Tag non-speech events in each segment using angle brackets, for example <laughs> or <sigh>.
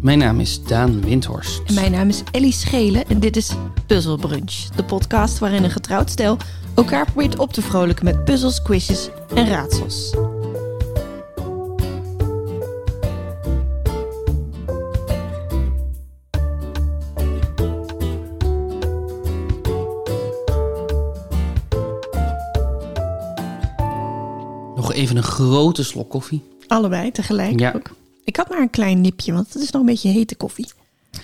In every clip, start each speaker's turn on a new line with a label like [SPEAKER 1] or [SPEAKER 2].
[SPEAKER 1] Mijn naam is Daan Windhorst.
[SPEAKER 2] En mijn naam is Ellie Schelen en dit is Puzzle Brunch. De podcast waarin een getrouwd stel elkaar probeert op te vrolijken met puzzels, quizjes en raadsels.
[SPEAKER 1] Nog even een grote slok koffie.
[SPEAKER 2] Allebei tegelijk
[SPEAKER 1] Ja.
[SPEAKER 2] ook. Ik had maar een klein nipje, want het is nog een beetje hete koffie.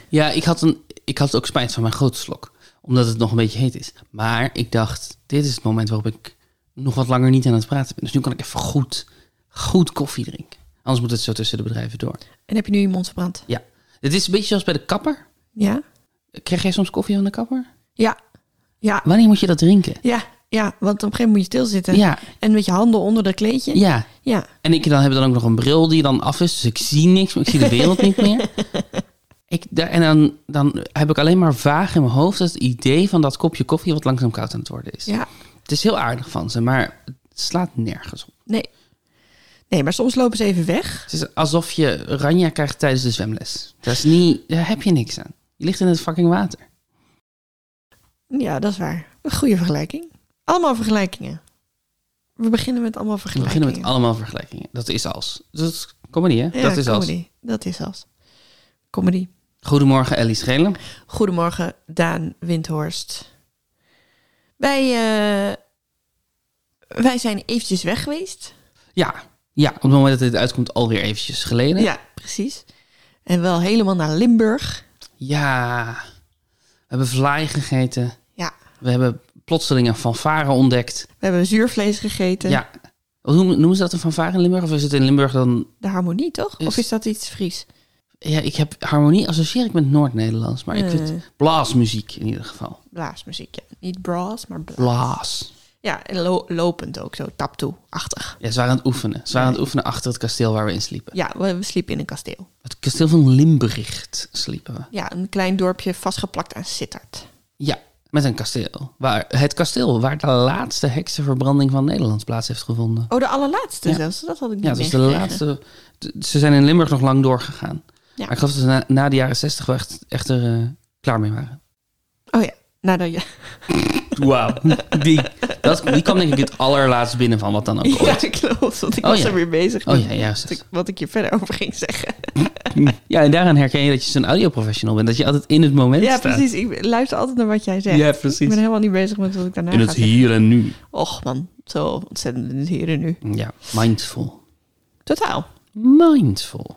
[SPEAKER 1] Ja, ik had, een, ik had ook spijt van mijn grote slok. Omdat het nog een beetje heet is. Maar ik dacht, dit is het moment waarop ik nog wat langer niet aan het praten ben. Dus nu kan ik even goed, goed koffie drinken. Anders moet het zo tussen de bedrijven door.
[SPEAKER 2] En heb je nu je mond verbrand?
[SPEAKER 1] Ja, het is een beetje zoals bij de kapper.
[SPEAKER 2] Ja?
[SPEAKER 1] Krijg jij soms koffie van de kapper?
[SPEAKER 2] Ja. Ja.
[SPEAKER 1] Wanneer moet je dat drinken?
[SPEAKER 2] Ja. Ja, want op een gegeven moment moet je stilzitten.
[SPEAKER 1] Ja,
[SPEAKER 2] En met je handen onder dat kleedje.
[SPEAKER 1] ja.
[SPEAKER 2] Ja.
[SPEAKER 1] En ik dan heb dan ook nog een bril die dan af is. Dus ik zie niks, maar ik zie de wereld niet
[SPEAKER 2] <laughs>
[SPEAKER 1] meer. Ik, daar- en dan, dan heb ik alleen maar vaag in mijn hoofd het idee van dat kopje koffie wat langzaam koud aan het worden is.
[SPEAKER 2] Ja.
[SPEAKER 1] Het is heel aardig van ze, maar het slaat nergens op.
[SPEAKER 2] Nee. Nee, maar soms lopen ze even weg.
[SPEAKER 1] Het is alsof je ranja krijgt tijdens de zwemles. Dat is niet, daar heb je niks aan. Je ligt in het fucking water.
[SPEAKER 2] Ja, dat is waar. Een goede vergelijking. Allemaal vergelijkingen. We beginnen met allemaal
[SPEAKER 1] We
[SPEAKER 2] vergelijkingen.
[SPEAKER 1] beginnen met allemaal vergelijkingen. Dat is als. Dat is comedy, hè?
[SPEAKER 2] Ja,
[SPEAKER 1] dat is als.
[SPEAKER 2] comedy. Dat is als. Comedy.
[SPEAKER 1] Goedemorgen, Ellie Schelen.
[SPEAKER 2] Goedemorgen, Daan Windhorst. Wij, eh, wij zijn eventjes weg geweest.
[SPEAKER 1] Ja, ja, op het moment dat dit uitkomt alweer eventjes geleden.
[SPEAKER 2] Ja, precies. En wel helemaal naar Limburg.
[SPEAKER 1] Ja, we hebben vlaai gegeten.
[SPEAKER 2] Ja,
[SPEAKER 1] We hebben plotseling een fanfare ontdekt.
[SPEAKER 2] we hebben zuurvlees gegeten.
[SPEAKER 1] Ja. Hoe noemen noemen ze dat een fanfare in Limburg? Of is het in Limburg dan...
[SPEAKER 2] De harmonie, toch?
[SPEAKER 1] Is-
[SPEAKER 2] Of is dat iets Fries?
[SPEAKER 1] Ja, ik heb harmonie associeer ik met Noord-Nederlands. Maar ik
[SPEAKER 2] Eh.
[SPEAKER 1] vind blaasmuziek in ieder geval.
[SPEAKER 2] Blaasmuziek, ja. Niet bras, maar bla.
[SPEAKER 1] Blaas.
[SPEAKER 2] Ja, en lo- lopend ook zo, taptoe-achtig.
[SPEAKER 1] Ja, ze waren aan het oefenen. Ze waren aan het oefenen achter het kasteel waar we in sliepen.
[SPEAKER 2] Ja, we, we sliepen in een kasteel.
[SPEAKER 1] Het kasteel van Limbricht sliepen we.
[SPEAKER 2] Ja, een klein dorpje vastgeplakt aan Sittard.
[SPEAKER 1] Ja, met een kasteel. Waar, het kasteel waar de laatste heksenverbranding van Nederland plaats heeft gevonden.
[SPEAKER 2] Oh, de allerlaatste
[SPEAKER 1] Ja.
[SPEAKER 2] zelfs. Dat had ik niet
[SPEAKER 1] Ja, dat was de
[SPEAKER 2] meegekregen.
[SPEAKER 1] laatste. d- Ze zijn in Limburg nog lang doorgegaan.
[SPEAKER 2] Ja.
[SPEAKER 1] Maar ik geloof dat ze na, na de jaren zestig echt, echt er eh, klaar mee waren.
[SPEAKER 2] Oh ja, nadat je...
[SPEAKER 1] Wauw. <laughs> Die, dat, die kwam denk ik het allerlaatst binnen van wat dan ook.
[SPEAKER 2] <laughs> Ja, klopt. Want ik
[SPEAKER 1] Oh
[SPEAKER 2] was
[SPEAKER 1] ja.
[SPEAKER 2] er weer bezig
[SPEAKER 1] Oh
[SPEAKER 2] met
[SPEAKER 1] ja, juist.
[SPEAKER 2] wat, ik, wat ik je verder over ging zeggen.
[SPEAKER 1] Ja, en daaraan herken je dat je zo'n audioprofessional bent. Dat je altijd in het moment
[SPEAKER 2] Ja,
[SPEAKER 1] staat.
[SPEAKER 2] precies. Ik luister altijd naar wat jij zegt.
[SPEAKER 1] Ja, precies.
[SPEAKER 2] Ik ben helemaal niet bezig met wat ik daarna
[SPEAKER 1] In
[SPEAKER 2] ga
[SPEAKER 1] het
[SPEAKER 2] zeggen.
[SPEAKER 1] hier en nu.
[SPEAKER 2] Och man, zo ontzettend in het hier en nu.
[SPEAKER 1] Ja, mindful.
[SPEAKER 2] Totaal.
[SPEAKER 1] Mindful.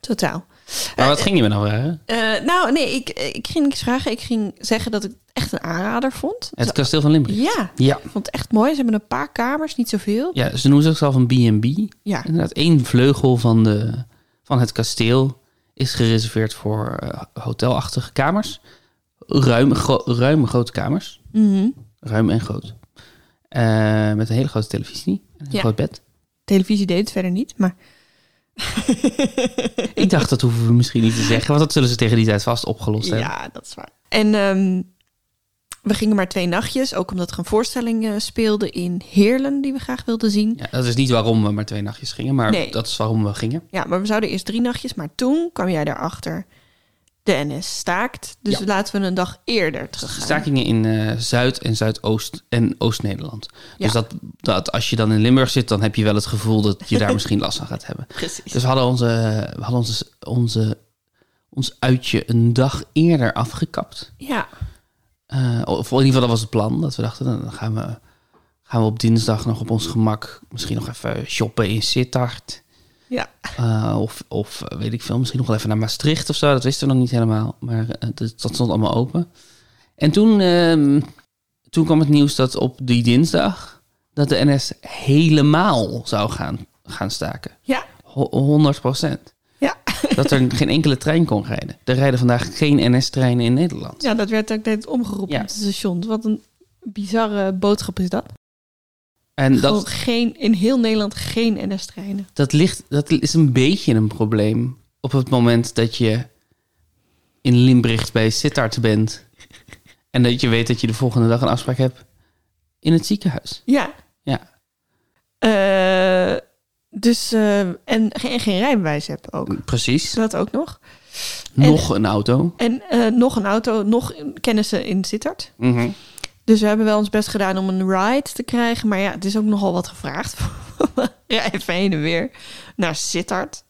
[SPEAKER 2] Totaal.
[SPEAKER 1] Maar wat ging je me nou vragen?
[SPEAKER 2] Eh, nou, nee, ik, ik ging niks vragen. Ik ging zeggen dat ik het echt een aanrader vond.
[SPEAKER 1] Het kasteel van Limburg.
[SPEAKER 2] Ja,
[SPEAKER 1] Ja.
[SPEAKER 2] ik vond het echt mooi. Ze hebben een paar kamers, niet zoveel.
[SPEAKER 1] ja, ze noemen zichzelf een B&B.
[SPEAKER 2] Ja,
[SPEAKER 1] Inderdaad, één vleugel van, de, van het kasteel is gereserveerd voor eh, hotelachtige kamers. Ruim, gro- ruime grote kamers.
[SPEAKER 2] Mhm.
[SPEAKER 1] Ruim en groot. Eh, met een hele grote televisie. en Een
[SPEAKER 2] Ja.
[SPEAKER 1] groot bed.
[SPEAKER 2] televisie deed het verder niet, maar...
[SPEAKER 1] Ik dacht, dat hoeven we misschien niet te zeggen. Want dat zullen ze tegen die tijd vast opgelost hebben.
[SPEAKER 2] Ja, dat is waar. En ehm, we gingen maar twee nachtjes, ook omdat er een voorstelling eh, speelde in Heerlen die we graag wilden zien.
[SPEAKER 1] Ja, dat is niet waarom we maar twee nachtjes gingen. Maar
[SPEAKER 2] Nee.
[SPEAKER 1] dat is waarom we gingen.
[SPEAKER 2] Ja, maar we zouden eerst drie nachtjes, maar toen kwam jij daarachter. De NS staakt, dus
[SPEAKER 1] Ja. Dus
[SPEAKER 2] laten we een dag eerder teruggaan.
[SPEAKER 1] Stakingen in eh, Zuid- en Zuidoost- en Oost-Nederland. Dus
[SPEAKER 2] Ja.
[SPEAKER 1] dat, dat als je dan in Limburg zit, dan heb je wel het gevoel dat je
[SPEAKER 2] <laughs>
[SPEAKER 1] daar misschien last van gaat hebben.
[SPEAKER 2] Precies.
[SPEAKER 1] Dus we hadden, onze, we hadden onze, onze, ons uitje een dag eerder afgekapt.
[SPEAKER 2] Ja,
[SPEAKER 1] Eh, of in ieder geval, dat was het plan. Dat we dachten, nou, dan gaan we, gaan we op dinsdag nog op ons gemak misschien nog even shoppen in Sittard.
[SPEAKER 2] ja.
[SPEAKER 1] Eh, of, of eh, weet ik veel, misschien nog wel even naar Maastricht of zo. Dat wisten we nog niet helemaal. Maar eh, dat, dat stond allemaal open. En toen, ehm, toen kwam het nieuws dat op die dinsdag... dat de NS helemaal zou gaan, gaan staken.
[SPEAKER 2] Ja,
[SPEAKER 1] Ho- 100 procent.
[SPEAKER 2] ja.
[SPEAKER 1] Dat er geen enkele trein kon rijden. Er rijden vandaag geen NS-treinen in Nederland.
[SPEAKER 2] ja, dat werd ook net omgeroepen
[SPEAKER 1] Ja.
[SPEAKER 2] op het station. Wat een bizarre boodschap is dat.
[SPEAKER 1] En
[SPEAKER 2] Gewoon
[SPEAKER 1] dat,
[SPEAKER 2] geen, in heel Nederland geen NS-treinen.
[SPEAKER 1] dat, ligt, dat is een beetje een probleem op het moment dat je in Limbricht bij Sittard bent. En dat je weet dat je de volgende dag een afspraak hebt in het ziekenhuis.
[SPEAKER 2] Ja.
[SPEAKER 1] Ja,
[SPEAKER 2] Eh, dus, eh, en, en geen rijbewijs hebt ook.
[SPEAKER 1] precies.
[SPEAKER 2] Dat ook nog.
[SPEAKER 1] Nog een auto.
[SPEAKER 2] En eh, nog een auto, nog kennissen in Sittard.
[SPEAKER 1] Mhm.
[SPEAKER 2] Dus we hebben wel ons best gedaan om een ride te krijgen. Maar ja, het is ook nogal wat gevraagd. <laughs> ja, even heen en weer naar Sittard.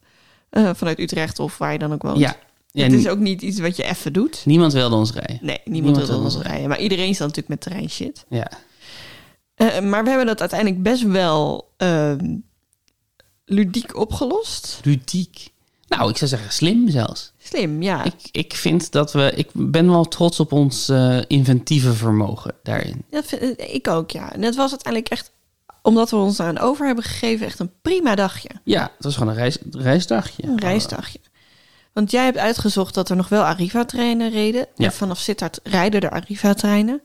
[SPEAKER 2] eh, vanuit Utrecht of waar je dan ook woont.
[SPEAKER 1] Ja. ja
[SPEAKER 2] het
[SPEAKER 1] nie-
[SPEAKER 2] is ook niet iets wat je even doet.
[SPEAKER 1] Niemand wilde ons rijden.
[SPEAKER 2] Nee, niemand,
[SPEAKER 1] Niemand
[SPEAKER 2] wil
[SPEAKER 1] wil
[SPEAKER 2] ons
[SPEAKER 1] ons
[SPEAKER 2] rijden. Maar iedereen staat natuurlijk met terrein shit.
[SPEAKER 1] Ja.
[SPEAKER 2] Eh, maar we hebben dat uiteindelijk best wel ehm, ludiek opgelost.
[SPEAKER 1] Ludiek. Nou, ik zou zeggen slim zelfs.
[SPEAKER 2] Slim, ja.
[SPEAKER 1] Ik, ik vind dat we... Ik ben wel trots op ons eh, inventieve vermogen daarin.
[SPEAKER 2] Dat vind, eh, ik ook, ja. En het was uiteindelijk echt, omdat we ons aan over hebben gegeven, echt een prima dagje.
[SPEAKER 1] Ja, het was gewoon een reis, reisdagje.
[SPEAKER 2] Een reisdagje. Want jij hebt uitgezocht dat er nog wel Arriva-treinen reden.
[SPEAKER 1] Ja.
[SPEAKER 2] En vanaf Sittard rijden er Arriva-treinen.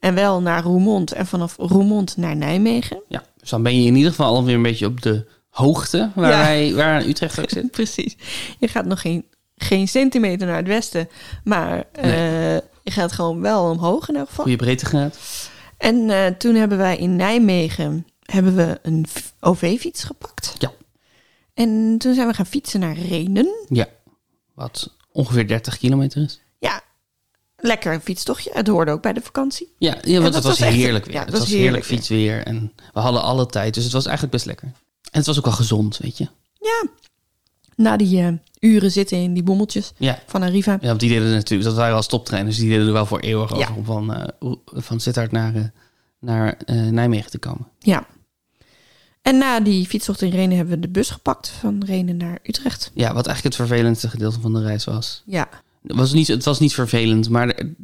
[SPEAKER 2] En wel naar Roermond en vanaf Roermond naar Nijmegen.
[SPEAKER 1] Ja, dus dan ben je in ieder geval alweer een beetje op de hoogte... waar,
[SPEAKER 2] Ja.
[SPEAKER 1] wij, waar Utrecht ook <laughs> <laughs> zit.
[SPEAKER 2] Precies. Je gaat nog geen, geen centimeter naar het westen, maar eh, je gaat gewoon wel omhoog in elk geval.
[SPEAKER 1] Goede breedtegraad.
[SPEAKER 2] En eh, toen hebben wij in Nijmegen hebben we een f- OV-fiets gepakt.
[SPEAKER 1] Ja.
[SPEAKER 2] En toen zijn we gaan fietsen naar Renen.
[SPEAKER 1] Ja. Wat ongeveer 30 kilometer is.
[SPEAKER 2] Ja, lekker een fietstochtje. Het hoorde ook bij de vakantie.
[SPEAKER 1] Ja, ja, want
[SPEAKER 2] dat
[SPEAKER 1] het
[SPEAKER 2] was
[SPEAKER 1] was,
[SPEAKER 2] echt-
[SPEAKER 1] heerlijk weer.
[SPEAKER 2] ja,
[SPEAKER 1] het was, heerlijk
[SPEAKER 2] weer.
[SPEAKER 1] fietsweer. En we hadden alle tijd, dus het was eigenlijk best lekker. En het was ook wel gezond, weet je.
[SPEAKER 2] Na die eh, uren zitten in die bommeltjes
[SPEAKER 1] Ja,
[SPEAKER 2] van Arriva.
[SPEAKER 1] ja want die deden natuurlijk, dat waren al stoptreinen, dus die deden er wel voor eeuwig
[SPEAKER 2] Ja.
[SPEAKER 1] over om van, eh, o- van Sittard naar, eh, naar eh, Nijmegen te komen.
[SPEAKER 2] Ja. En na die fietstocht in Renen hebben we de bus gepakt van Renen naar Utrecht.
[SPEAKER 1] Ja, wat eigenlijk het vervelendste gedeelte van de reis was.
[SPEAKER 2] Ja,
[SPEAKER 1] Het was niet, het was niet vervelend, maar er-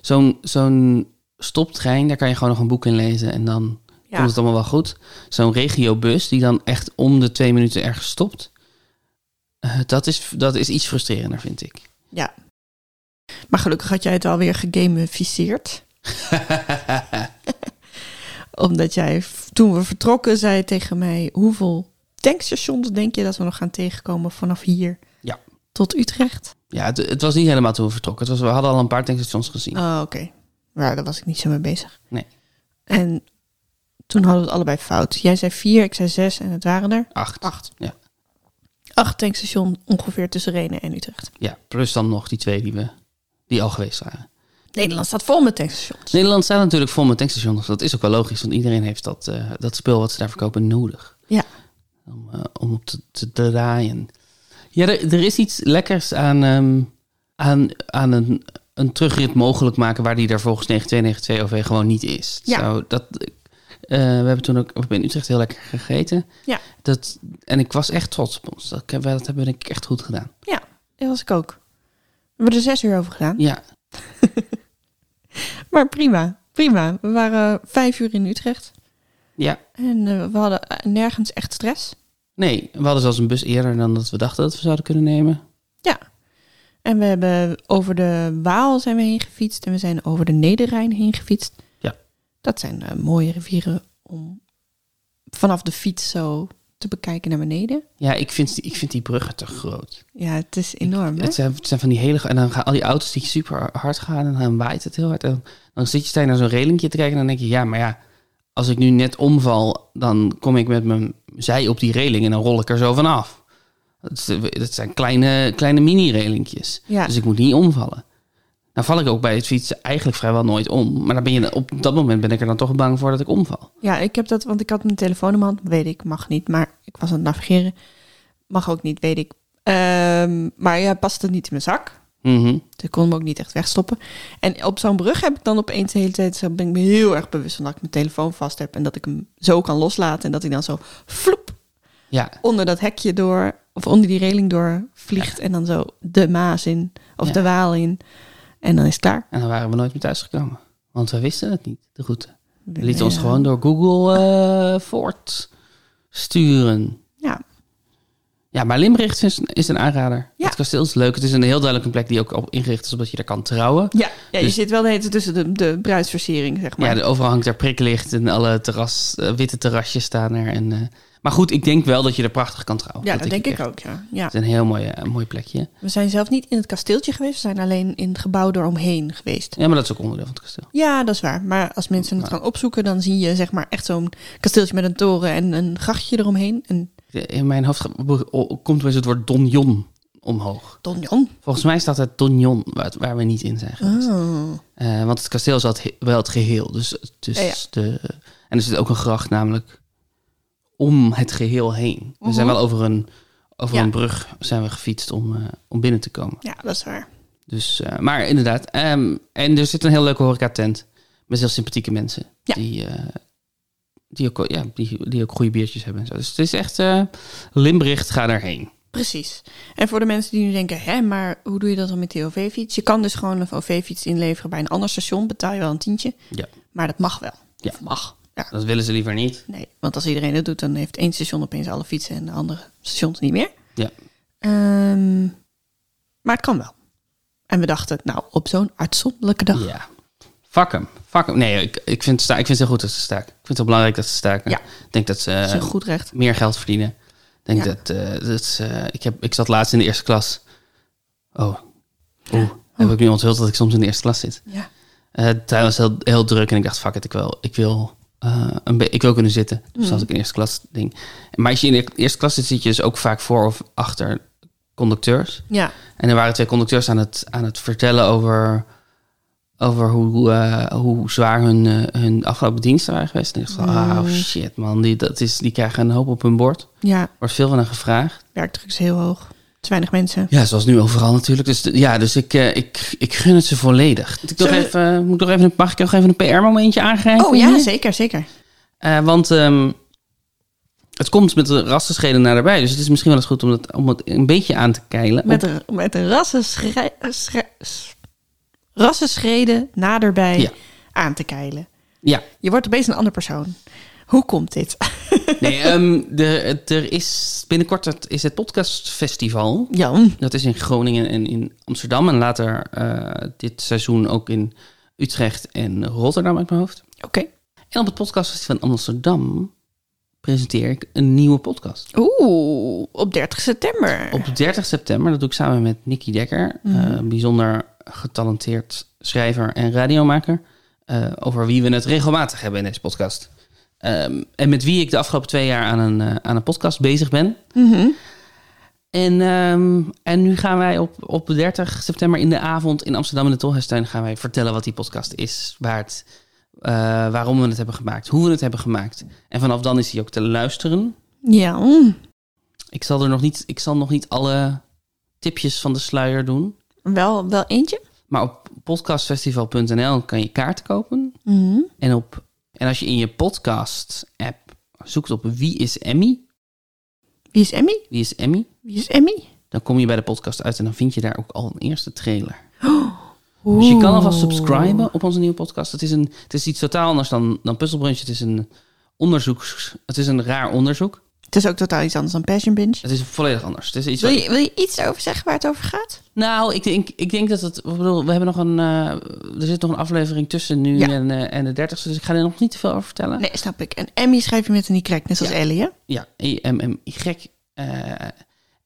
[SPEAKER 1] zo'n zo'n stoptrein, daar kan je gewoon nog een boek in lezen en dan
[SPEAKER 2] ja.
[SPEAKER 1] komt het allemaal wel goed. Zo'n regiobus die dan echt om de twee minuten ergens stopt. eh, dat, is, dat is iets frustrerender, vind ik. <laughs>
[SPEAKER 2] Maar gelukkig had jij het alweer gegamificeerd. Omdat jij, v- toen we vertrokken, zei tegen mij... hoeveel tankstations denk je dat we nog gaan tegenkomen vanaf hier
[SPEAKER 1] Ja.
[SPEAKER 2] tot Utrecht?
[SPEAKER 1] ja, het, het was niet helemaal toen we vertrokken. Het was, we hadden al een paar tankstations gezien.
[SPEAKER 2] Oh, oké. Maar daar was ik niet zo mee bezig.
[SPEAKER 1] Nee.
[SPEAKER 2] En toen hadden we het allebei fout. Jij zei vier, ik zei zes en het waren er
[SPEAKER 1] Acht.
[SPEAKER 2] acht.
[SPEAKER 1] Ja.
[SPEAKER 2] Acht tankstations ongeveer tussen Renen en Utrecht.
[SPEAKER 1] Ja, plus dan nog die twee die, we, die al geweest waren.
[SPEAKER 2] Nederland staat vol met tankstations.
[SPEAKER 1] Nederland staat natuurlijk vol met tankstations. Dat is ook wel logisch, want iedereen heeft dat, eh, dat spul wat ze daar verkopen nodig.
[SPEAKER 2] Ja.
[SPEAKER 1] Om, eh, om op te, te draaien. Ja, er, er is iets lekkers aan, ehm, aan, aan een, een terugrit mogelijk maken... waar die daar volgens 9292 OV gewoon niet is.
[SPEAKER 2] Ja.
[SPEAKER 1] Zo, dat, eh, we hebben toen ook we hebben in Utrecht heel lekker gegeten.
[SPEAKER 2] Ja.
[SPEAKER 1] Dat, en ik was echt trots op ons. Dat, dat hebben we denk ik echt goed gedaan.
[SPEAKER 2] Ja, dat was ik ook. We hebben er zes uur over gedaan.
[SPEAKER 1] Ja,
[SPEAKER 2] Maar prima, prima. We waren vijf uur in Utrecht.
[SPEAKER 1] ja.
[SPEAKER 2] En eh, we hadden eh, nergens echt stress.
[SPEAKER 1] Nee, we hadden zelfs een bus eerder dan dat we dachten dat we zouden kunnen nemen.
[SPEAKER 2] En we hebben over de Waal zijn we heen gefietst. En we zijn over de Nederrijn heen gefietst.
[SPEAKER 1] Ja.
[SPEAKER 2] Dat zijn eh, mooie rivieren om vanaf de fiets zo te bekijken naar beneden.
[SPEAKER 1] Ja, ik vind, die- ik vind die bruggen te groot.
[SPEAKER 2] Oh, Ja, het is enorm, hè?
[SPEAKER 1] Het zijn, het zijn van die hele... gro- En dan gaan al die auto's die super hard gaan en dan waait het heel hard. En dan zit je sta je naar zo'n relingje te kijken en dan denk je... Ja, maar ja, als ik nu net omval, dan kom ik met mijn zij op die reling en dan rol ik er zo vanaf. Dat, is- dat zijn kleine, kleine mini-relingjes.
[SPEAKER 2] Ja,
[SPEAKER 1] Dus ik moet niet omvallen. Nou val ik ook bij het fietsen eigenlijk vrijwel nooit om. Maar dan ben je, op dat moment ben ik er dan toch bang voor dat ik omval.
[SPEAKER 2] ja, ik heb dat, want ik had mijn telefoon in mijn hand. Weet ik, mag niet, maar ik was aan het navigeren. Mag ook niet, weet ik. Ehm, maar ja, past het niet in mijn zak.
[SPEAKER 1] Mhm.
[SPEAKER 2] Dus ik kon hem ook niet echt wegstoppen. En op zo'n brug heb ik dan opeens de hele tijd... zo ben ik me heel erg bewust van dat ik mijn telefoon vast heb... en dat ik hem zo kan loslaten... en dat hij dan zo floep
[SPEAKER 1] Ja,
[SPEAKER 2] onder dat hekje door... of onder die reling door vliegt... en dan zo de Maas in of
[SPEAKER 1] Ja.
[SPEAKER 2] de Waal in. En dan is het klaar.
[SPEAKER 1] En dan waren we nooit meer thuisgekomen. Want we wisten het niet, de route. We lieten ons
[SPEAKER 2] Ja.
[SPEAKER 1] gewoon door Google eh, voortsturen.
[SPEAKER 2] Ja,
[SPEAKER 1] Ja, maar Limbricht is, is een aanrader.
[SPEAKER 2] Ja.
[SPEAKER 1] Het kasteel is leuk. Het is een heel duidelijk een plek die ook op ingericht is... omdat je daar kan trouwen.
[SPEAKER 2] ja, ja je
[SPEAKER 1] Dus-
[SPEAKER 2] zit wel de hele tijd tussen de, de bruidsversiering, zeg maar.
[SPEAKER 1] Ja, overal hangt daar priklicht... en alle terras, eh, witte terrasjes staan er. En, eh, maar goed, ik denk wel dat je er prachtig kan trouwen.
[SPEAKER 2] Ja, dat denk ik
[SPEAKER 1] echt.
[SPEAKER 2] ook, ja. ja.
[SPEAKER 1] Het is een heel mooi, eh, mooi plekje.
[SPEAKER 2] We zijn zelf niet in het kasteeltje geweest... we zijn alleen in het gebouw eromheen geweest.
[SPEAKER 1] Ja, maar dat is ook onderdeel van het kasteel.
[SPEAKER 2] Ja, dat is waar. Maar als mensen het gaan opzoeken, dan zie je zeg maar echt zo'n kasteeltje met een toren en een grachtje eromheen. En
[SPEAKER 1] In mijn hoofd ge- o- komt wel eens het woord donjon omhoog.
[SPEAKER 2] Donjon.
[SPEAKER 1] Volgens mij staat het Donjon, waar, het- waar we niet in zijn geweest.
[SPEAKER 2] Oh.
[SPEAKER 1] Eh, want het kasteel is wel het, he- wel het geheel. Dus, dus
[SPEAKER 2] Ja, ja.
[SPEAKER 1] De, en er zit ook een gracht namelijk om het geheel heen. We zijn
[SPEAKER 2] Mhm.
[SPEAKER 1] wel over een, over
[SPEAKER 2] Ja.
[SPEAKER 1] een brug zijn we gefietst om, eh, om binnen te komen.
[SPEAKER 2] Ja, dat is waar.
[SPEAKER 1] Dus, eh, maar inderdaad. ehm, en er zit een heel leuke horecatent. Met heel sympathieke mensen.
[SPEAKER 2] Ja.
[SPEAKER 1] Die, eh, die, ook, ja, die, die ook goede biertjes hebben. En zo. Dus het is echt... eh Limbricht, ga daarheen.
[SPEAKER 2] Precies. En voor de mensen die nu denken, hè, maar hoe doe je dat dan met die OV-fiets? Je kan dus gewoon een OV-fiets inleveren bij een ander station, betaal je wel een tientje.
[SPEAKER 1] Ja.
[SPEAKER 2] Maar dat mag wel.
[SPEAKER 1] Ja.
[SPEAKER 2] Of mag. Ja.
[SPEAKER 1] Dat willen ze liever niet.
[SPEAKER 2] Nee, want als iedereen dat doet, dan heeft één station opeens alle fietsen en de andere stations niet meer.
[SPEAKER 1] Ja.
[SPEAKER 2] Ehm, maar het kan wel. En we dachten, nou, op zo'n uitzonderlijke dag.
[SPEAKER 1] Ja. Fuck hem. Fuck hem. Nee, ik, ik, vind, sta, ik vind het heel goed dat ze staken. Ik vind het heel belangrijk dat ze staken.
[SPEAKER 2] Ja.
[SPEAKER 1] Ik denk dat ze
[SPEAKER 2] Dat is
[SPEAKER 1] eh,
[SPEAKER 2] een goed recht.
[SPEAKER 1] meer geld verdienen. Ik denk
[SPEAKER 2] Ja.
[SPEAKER 1] dat... eh, dat ze, eh, ik, heb, ik zat laatst in de eerste klas. Oh. Oeh. Heb ik nu onthuld dat ik soms in de eerste klas zit.
[SPEAKER 2] Ja.
[SPEAKER 1] Eh, Het tuin was heel, heel druk en ik dacht, fuck it, ik wil, ik wil, eh, een be- ik wil kunnen zitten. Dus
[SPEAKER 2] Hmm.
[SPEAKER 1] dat had ik een eerste klas ding. Maar als je in de eerste klas zit, zit je dus ook vaak voor of achter conducteurs.
[SPEAKER 2] Ja.
[SPEAKER 1] En er waren twee conducteurs aan het, aan het vertellen over, over hoe, eh, hoe zwaar hun, eh, hun afgelopen diensten waren geweest. En ik dacht, van, ah,
[SPEAKER 2] Mm.
[SPEAKER 1] oh shit man, die, dat is, die krijgen een hoop op hun bord.
[SPEAKER 2] Ja,
[SPEAKER 1] Wordt veel van hen gevraagd.
[SPEAKER 2] werkdruk is heel hoog. Te weinig mensen. Oh,
[SPEAKER 1] Ja, zoals nu overal natuurlijk. Dus de- ja, dus ik, eh, ik, ik gun het ze volledig. Ik nog
[SPEAKER 2] Zullen we-
[SPEAKER 1] even, moet ik nog even, een- mag ik nog even een PR-momentje aangrijpen?
[SPEAKER 2] Oh ja, zeker, zeker.
[SPEAKER 1] Eh, want ehm, het komt met de rassenscheden naderbij. Dus het is misschien wel eens goed om, dat, om het een beetje aan te keilen.
[SPEAKER 2] Met, een- met een rassenschrij- schrij- s- rassenschreden naderbij
[SPEAKER 1] Ja.
[SPEAKER 2] aan te keilen.
[SPEAKER 1] Ja,
[SPEAKER 2] Je wordt opeens een ander persoon. Hoe komt dit? <laughs>
[SPEAKER 1] nee, ehm, de, het- er is binnenkort het, is het podcastfestival.
[SPEAKER 2] Jan.
[SPEAKER 1] Dat is in Groningen en in Amsterdam. En later eh, dit seizoen ook in Utrecht en Rotterdam uit mijn hoofd.
[SPEAKER 2] Oké.
[SPEAKER 1] En op het podcastfestival in Amsterdam presenteer ik een nieuwe podcast.
[SPEAKER 2] Oeh, op 30 september.
[SPEAKER 1] Op 30 september, dat doe ik samen met Nicky Dekker, eh, een bijzonder getalenteerd schrijver en radiomaker, eh, over wie we het regelmatig hebben in deze podcast. Ehm, en met wie ik de afgelopen twee jaar aan een, eh, aan een podcast bezig ben.
[SPEAKER 2] Mhm.
[SPEAKER 1] En, ehm, en nu gaan wij op, op 30 september in de avond in Amsterdam in de Tolhuistuin gaan wij vertellen wat die podcast is, waar het, eh, waarom we het hebben gemaakt, hoe we het hebben gemaakt. En vanaf dan is die ook te luisteren.
[SPEAKER 2] Ja.
[SPEAKER 1] Ik zal er nog niet, ik zal nog niet alle tipjes van de sluier doen.
[SPEAKER 2] Wel, wel eentje?
[SPEAKER 1] Maar op podcastfestival.nl kan je kaarten kopen.
[SPEAKER 2] Mhm.
[SPEAKER 1] En, op, en als je in je podcast-app zoekt op wie is Emmy,
[SPEAKER 2] Wie is Emmy?
[SPEAKER 1] wie is Emmy,
[SPEAKER 2] Wie is Emmy?
[SPEAKER 1] dan kom je bij de podcast uit en dan vind je daar ook al een eerste trailer. Dus je kan alvast subscriben op onze nieuwe podcast. Het is, een, het is iets totaal anders dan, dan Puzzelbrunch. Het is een onderzoeks... Het is een raar onderzoek.
[SPEAKER 2] Het is ook totaal iets anders dan Passion Binge.
[SPEAKER 1] Het is volledig anders. Het is iets
[SPEAKER 2] Wil
[SPEAKER 1] wat-
[SPEAKER 2] je, wil je iets over zeggen waar het over gaat?
[SPEAKER 1] Nou, ik denk, ik denk dat het. Ik bedoel, we hebben nog een. eh, er zit nog een aflevering tussen nu
[SPEAKER 2] Ja.
[SPEAKER 1] en, eh, en de 30ste. Dus ik ga er nog niet te veel over vertellen.
[SPEAKER 2] Nee, snap ik. En Emmy schrijf je met een Y, net zoals Ellie, hè?
[SPEAKER 1] Ah. Ja, E E-M-M-Y. eh,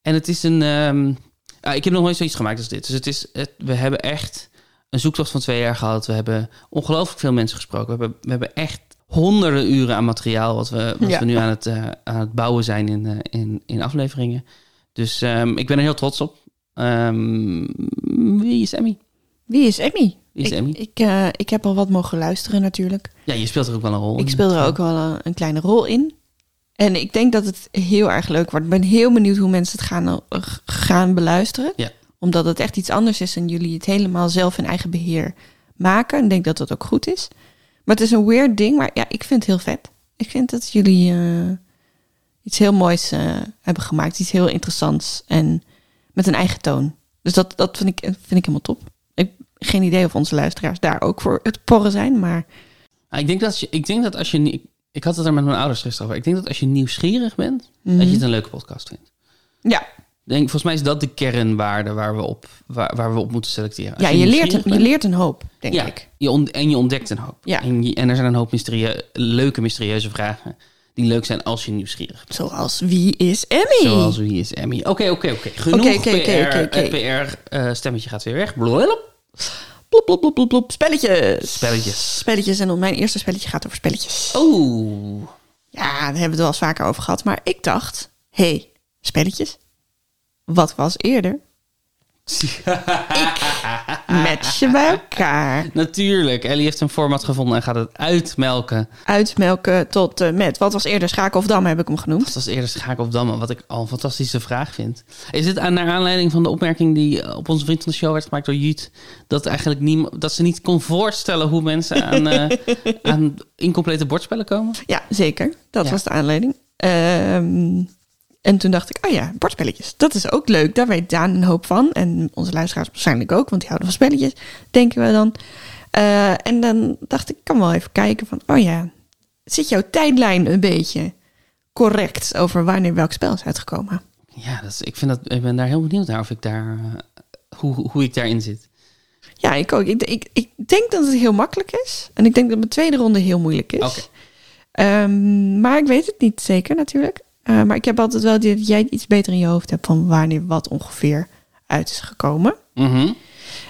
[SPEAKER 1] en het is een. ehm, ah, ik heb nog nooit zoiets gemaakt als dit. Dus het is. Het, we hebben echt een zoektocht van twee jaar gehad. We hebben ongelooflijk veel mensen gesproken. We hebben, we hebben echt honderden uren aan materiaal. wat we, wat
[SPEAKER 2] Ja.
[SPEAKER 1] we nu aan het, eh, aan het bouwen zijn in, eh, in, in afleveringen. Dus ehm, ik ben er heel trots op. Ehm, wie is Emmy?
[SPEAKER 2] Wie is Emmy?
[SPEAKER 1] Wie is
[SPEAKER 2] ik,
[SPEAKER 1] Emmy?
[SPEAKER 2] Ik, eh, ik heb al wat mogen luisteren natuurlijk.
[SPEAKER 1] Ja, je speelt er ook wel een rol in.
[SPEAKER 2] ik speel er ook wel eh, een kleine rol in. En ik denk dat het heel erg leuk wordt. Ik ben heel benieuwd hoe mensen het gaan, eh, g- gaan beluisteren.
[SPEAKER 1] Ja.
[SPEAKER 2] Omdat het echt iets anders is en jullie het helemaal zelf in eigen beheer maken. En ik denk dat dat ook goed is. Maar het is een weird ding, maar ja, ik vind het heel vet. Ik vind dat jullie eh, iets heel moois eh, hebben gemaakt. Iets heel interessants en met een eigen toon. Dus dat, dat vind, ik, vind ik helemaal top. Ik heb geen idee of onze luisteraars daar ook voor het porren zijn, maar
[SPEAKER 1] Ah, ik, denk dat als je, ik denk dat als je... nie- Ik, ik had het er met mijn ouders gisteren over. Ik denk dat als je nieuwsgierig bent, dat
[SPEAKER 2] Mhm.
[SPEAKER 1] je het een leuke podcast vindt.
[SPEAKER 2] ja,
[SPEAKER 1] Ik Denk, volgens mij is dat de kernwaarde waar we op, waar, waar we op moeten selecteren. Als
[SPEAKER 2] Ja, je leert,
[SPEAKER 1] nieuwsgierig
[SPEAKER 2] een, je
[SPEAKER 1] bent,
[SPEAKER 2] leert een hoop, denk
[SPEAKER 1] ja,
[SPEAKER 2] ik.
[SPEAKER 1] Je ont- en je ontdekt een hoop.
[SPEAKER 2] Ja.
[SPEAKER 1] En, je- en er zijn een hoop mysterie, leuke, mysterieuze vragen die leuk zijn als je nieuwsgierig bent.
[SPEAKER 2] Zoals wie is Emmy?
[SPEAKER 1] Zoals wie is Emmy. Oké, oké, oké. Genoeg eh,
[SPEAKER 2] Oké, oké, oké,
[SPEAKER 1] PR.
[SPEAKER 2] oké, oké.
[SPEAKER 1] Het PR-stemmetje gaat weer weg. Blablabla.
[SPEAKER 2] Plop, plop, plop, plop, plop. Spelletjes.
[SPEAKER 1] Spelletjes.
[SPEAKER 2] Spelletjes. En mijn eerste spelletje gaat over spelletjes. <laughs>
[SPEAKER 1] Oh.
[SPEAKER 2] Ja, daar hebben we het wel eens vaker over gehad. Maar ik dacht, hé, hey, spelletjes? Wat was eerder
[SPEAKER 1] <laughs>
[SPEAKER 2] Match je bij elkaar.
[SPEAKER 1] Natuurlijk, Ellie heeft een format gevonden en gaat het uitmelken.
[SPEAKER 2] Uitmelken tot eh, met. Wat was eerder Schaken of Dam, heb ik hem genoemd.
[SPEAKER 1] Dat was eerder Schaak of Damme, wat ik al een fantastische vraag vind. Is dit aan, naar aanleiding van de opmerking die eh, op onze vriend van de show werd gemaakt door Jut... dat, eigenlijk niet, dat ze niet kon voorstellen hoe mensen aan, eh, aan incomplete bordspellen komen?
[SPEAKER 2] Ja, zeker. Dat
[SPEAKER 1] Ja.
[SPEAKER 2] was de aanleiding. Ehm, en toen dacht ik, oh ja, bordspelletjes. Dat is ook leuk. Daar weet Daan een hoop van. En onze luisteraars waarschijnlijk ook, want die houden van spelletjes, denken we dan. Eh, en dan dacht ik, ik kan wel even kijken van, oh ja, zit jouw tijdlijn een beetje correct over wanneer welk spel is uitgekomen?
[SPEAKER 1] Ja, dat is, ik, vind dat, ik ben daar heel benieuwd naar of ik daar, eh, hoe, hoe ik daarin zit.
[SPEAKER 2] Ja, ik ook. Ik, ik, ik denk dat het heel makkelijk is. En ik denk dat mijn tweede ronde heel moeilijk is.
[SPEAKER 1] Oké.
[SPEAKER 2] Ehm, maar ik weet het niet zeker natuurlijk. Eh, maar ik heb altijd wel het idee dat jij het iets beter in je hoofd hebt van wanneer wat ongeveer uit is gekomen.
[SPEAKER 1] Mhm.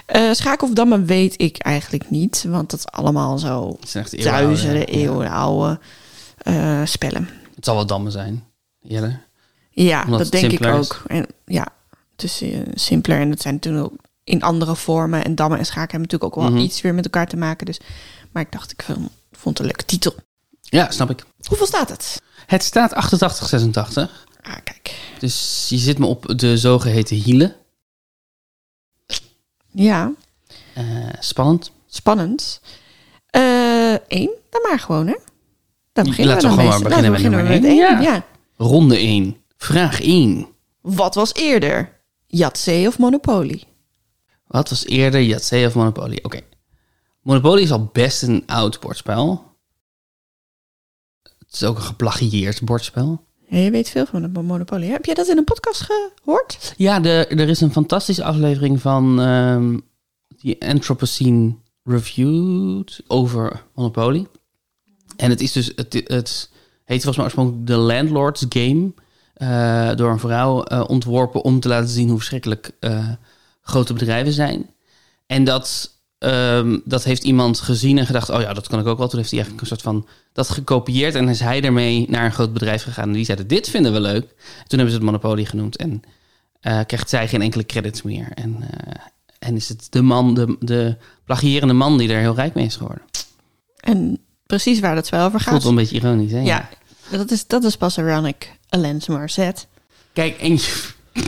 [SPEAKER 2] Eh Schaak of Dammen weet ik eigenlijk niet, want dat is allemaal zo
[SPEAKER 1] Het zijn echt eeuwenoude-
[SPEAKER 2] duizenden
[SPEAKER 1] ja.
[SPEAKER 2] eeuwenoude eh, spellen.
[SPEAKER 1] Het zal wel Damme zijn, Jelle.
[SPEAKER 2] Ja,
[SPEAKER 1] Omdat
[SPEAKER 2] dat
[SPEAKER 1] het
[SPEAKER 2] denk ik
[SPEAKER 1] simpeler is.
[SPEAKER 2] ook. En, ja, het is eh, simpeler en dat zijn toen ook in andere vormen. En dammen en schaken hebben natuurlijk ook wel
[SPEAKER 1] Mhm.
[SPEAKER 2] iets weer met elkaar te maken. Dus. Maar ik dacht, ik vond, vond het een leuke titel.
[SPEAKER 1] Ja, snap ik.
[SPEAKER 2] Hoeveel staat het?
[SPEAKER 1] Het staat 8886.
[SPEAKER 2] Ah, kijk.
[SPEAKER 1] Dus je zit me op de zogeheten hielen.
[SPEAKER 2] Ja,
[SPEAKER 1] Eh, spannend.
[SPEAKER 2] spannend. Eén, dan maar gewoon, hè? Dan
[SPEAKER 1] Ja,
[SPEAKER 2] beginnen
[SPEAKER 1] laten
[SPEAKER 2] we
[SPEAKER 1] we
[SPEAKER 2] dan
[SPEAKER 1] gewoon maar beginnen
[SPEAKER 2] Nou,
[SPEAKER 1] met
[SPEAKER 2] dan beginnen we
[SPEAKER 1] nummer
[SPEAKER 2] met één, ja.
[SPEAKER 1] Ronde 1. Vraag 1.
[SPEAKER 2] Wat was eerder? Yahtzee of Monopoly?
[SPEAKER 1] Wat was eerder Yahtzee of Monopoly? Oké. Monopoly is al best een oud bordspel. Het is ook een geplagieerd bordspel.
[SPEAKER 2] Ja, je weet veel van de Monopoly. hè? Heb jij dat in een podcast gehoord?
[SPEAKER 1] Ja, de, er is een fantastische aflevering van ehm, die Anthropocene Reviewed over Monopoly. En het is dus, het, het heet volgens mij oorspronkelijk The Landlord's Game. eh, door een vrouw eh, ontworpen om te laten zien hoe verschrikkelijk eh, grote bedrijven zijn. En dat, ehm, dat heeft iemand gezien en gedacht, oh ja, dat kan ik ook wel. Toen heeft hij eigenlijk een soort van dat gekopieerd en is hij ermee naar een groot bedrijf gegaan. En die zeiden, dit vinden we leuk. Toen hebben ze het Monopoly genoemd en eh, krijgt zij geen enkele credits meer. En, eh, en is het de man, de, de plagierende man die er heel rijk mee is geworden.
[SPEAKER 2] En precies waar dat spel over gaat.
[SPEAKER 1] Voelt wel een beetje ironisch, hè?
[SPEAKER 2] Ja, dat is, dat is pas ironic. Alanis Morissette.
[SPEAKER 1] Kijk, en je- <laughs>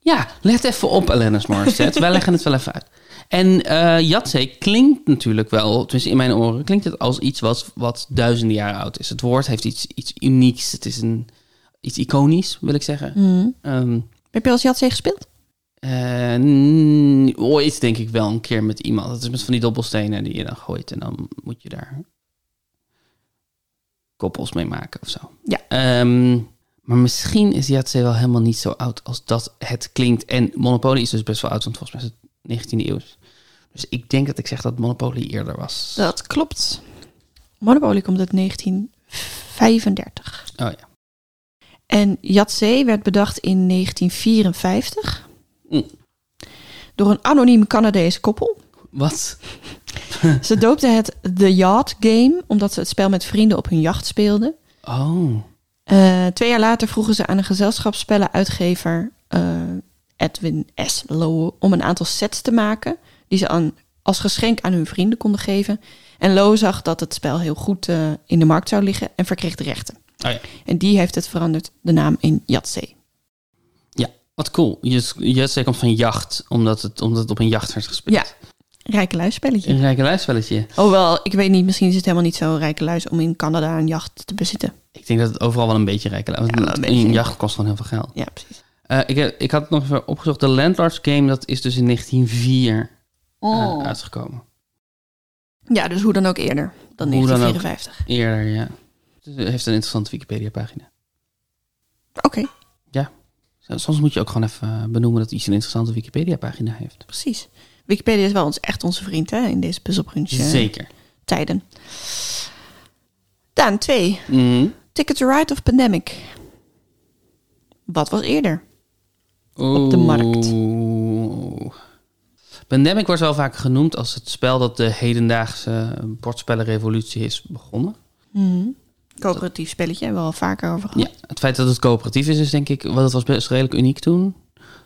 [SPEAKER 1] Ja, let even op, Alanis Morissette. Wij leggen het wel even uit. En eh Yatzee klinkt natuurlijk wel, tenminste in mijn oren, klinkt het als iets wat, wat duizenden jaren oud is. Het woord heeft iets, iets unieks. Het is een, iets iconisch, wil ik zeggen.
[SPEAKER 2] Mhm.
[SPEAKER 1] Ehm,
[SPEAKER 2] Heb je als Jatzee gespeeld?
[SPEAKER 1] Eh, n- Eh, ooit denk ik wel een keer met iemand. Dat is met van die dobbelstenen die je dan gooit en dan moet je daar koppels mee maken of zo.
[SPEAKER 2] Ja.
[SPEAKER 1] Ehm, maar misschien is Yahtzee wel helemaal niet zo oud als dat het klinkt. En Monopoly is dus best wel oud, want volgens mij is het 19e eeuw. Dus ik denk dat ik zeg dat Monopoly eerder was.
[SPEAKER 2] Dat klopt. Monopoly komt uit 1935.
[SPEAKER 1] Oh ja.
[SPEAKER 2] En Jatzee werd bedacht in 1954
[SPEAKER 1] Mm.
[SPEAKER 2] door een anoniem Canadese koppel.
[SPEAKER 1] Wat?
[SPEAKER 2] Ze doopten het The Yacht Game omdat ze het spel met vrienden op hun jacht speelden.
[SPEAKER 1] Oh.
[SPEAKER 2] Eh, twee jaar later vroegen ze aan een gezelschapsspellenuitgever eh, Edwin S. Lowe om een aantal sets te maken die ze aan, als geschenk aan hun vrienden konden geven. En Lowe zag dat het spel heel goed eh, in de markt zou liggen en verkreeg de rechten.
[SPEAKER 1] Oh ja.
[SPEAKER 2] En die heeft het veranderd, de naam in Yatzee.
[SPEAKER 1] Ja, wat cool. Yat- Yahtzee komt van jacht, omdat het, omdat het op een jacht werd gespeeld.
[SPEAKER 2] Ja. Rijke luisspelletje.
[SPEAKER 1] Een rijke lijstspelletje.
[SPEAKER 2] Hoewel, ik weet niet, misschien is het helemaal niet zo'n rijke luis om in Canada een jacht te bezitten.
[SPEAKER 1] Ik denk dat het overal wel een beetje rijker lijkt.
[SPEAKER 2] Ja,
[SPEAKER 1] Want
[SPEAKER 2] wel een
[SPEAKER 1] een,
[SPEAKER 2] beetje.
[SPEAKER 1] jacht kost gewoon heel veel geld.
[SPEAKER 2] Ja, precies.
[SPEAKER 1] Eh, ik, heb- ik had het nog even opgezocht. De Landlords Game, dat is dus in 1904 eh,
[SPEAKER 2] Oh.
[SPEAKER 1] uitgekomen.
[SPEAKER 2] Ja, dus hoe dan ook eerder dan
[SPEAKER 1] Hoe dan ook.
[SPEAKER 2] 1954.
[SPEAKER 1] Eerder, ja. Dus het heeft een interessante Wikipedia-pagina.
[SPEAKER 2] Oké,
[SPEAKER 1] Zo- Soms moet je ook gewoon even eh, benoemen dat iets een interessante Wikipedia-pagina heeft.
[SPEAKER 2] precies. Wikipedia is wel ons, echt onze vriend hè, in deze puzzelbrunch eh,
[SPEAKER 1] Zeker.
[SPEAKER 2] tijden. Daan 2.
[SPEAKER 1] Mhm.
[SPEAKER 2] Ticket to Ride of Pandemic. Wat was eerder? Op de markt.
[SPEAKER 1] Oeh. Pandemic wordt wel vaak genoemd als het spel dat de hedendaagse bordspellenrevolutie is begonnen.
[SPEAKER 2] Coöperatief spelletje, hebben we al vaker over gehad.
[SPEAKER 1] Ja, het feit dat het coöperatief is, is denk ik, want het was best redelijk uniek toen.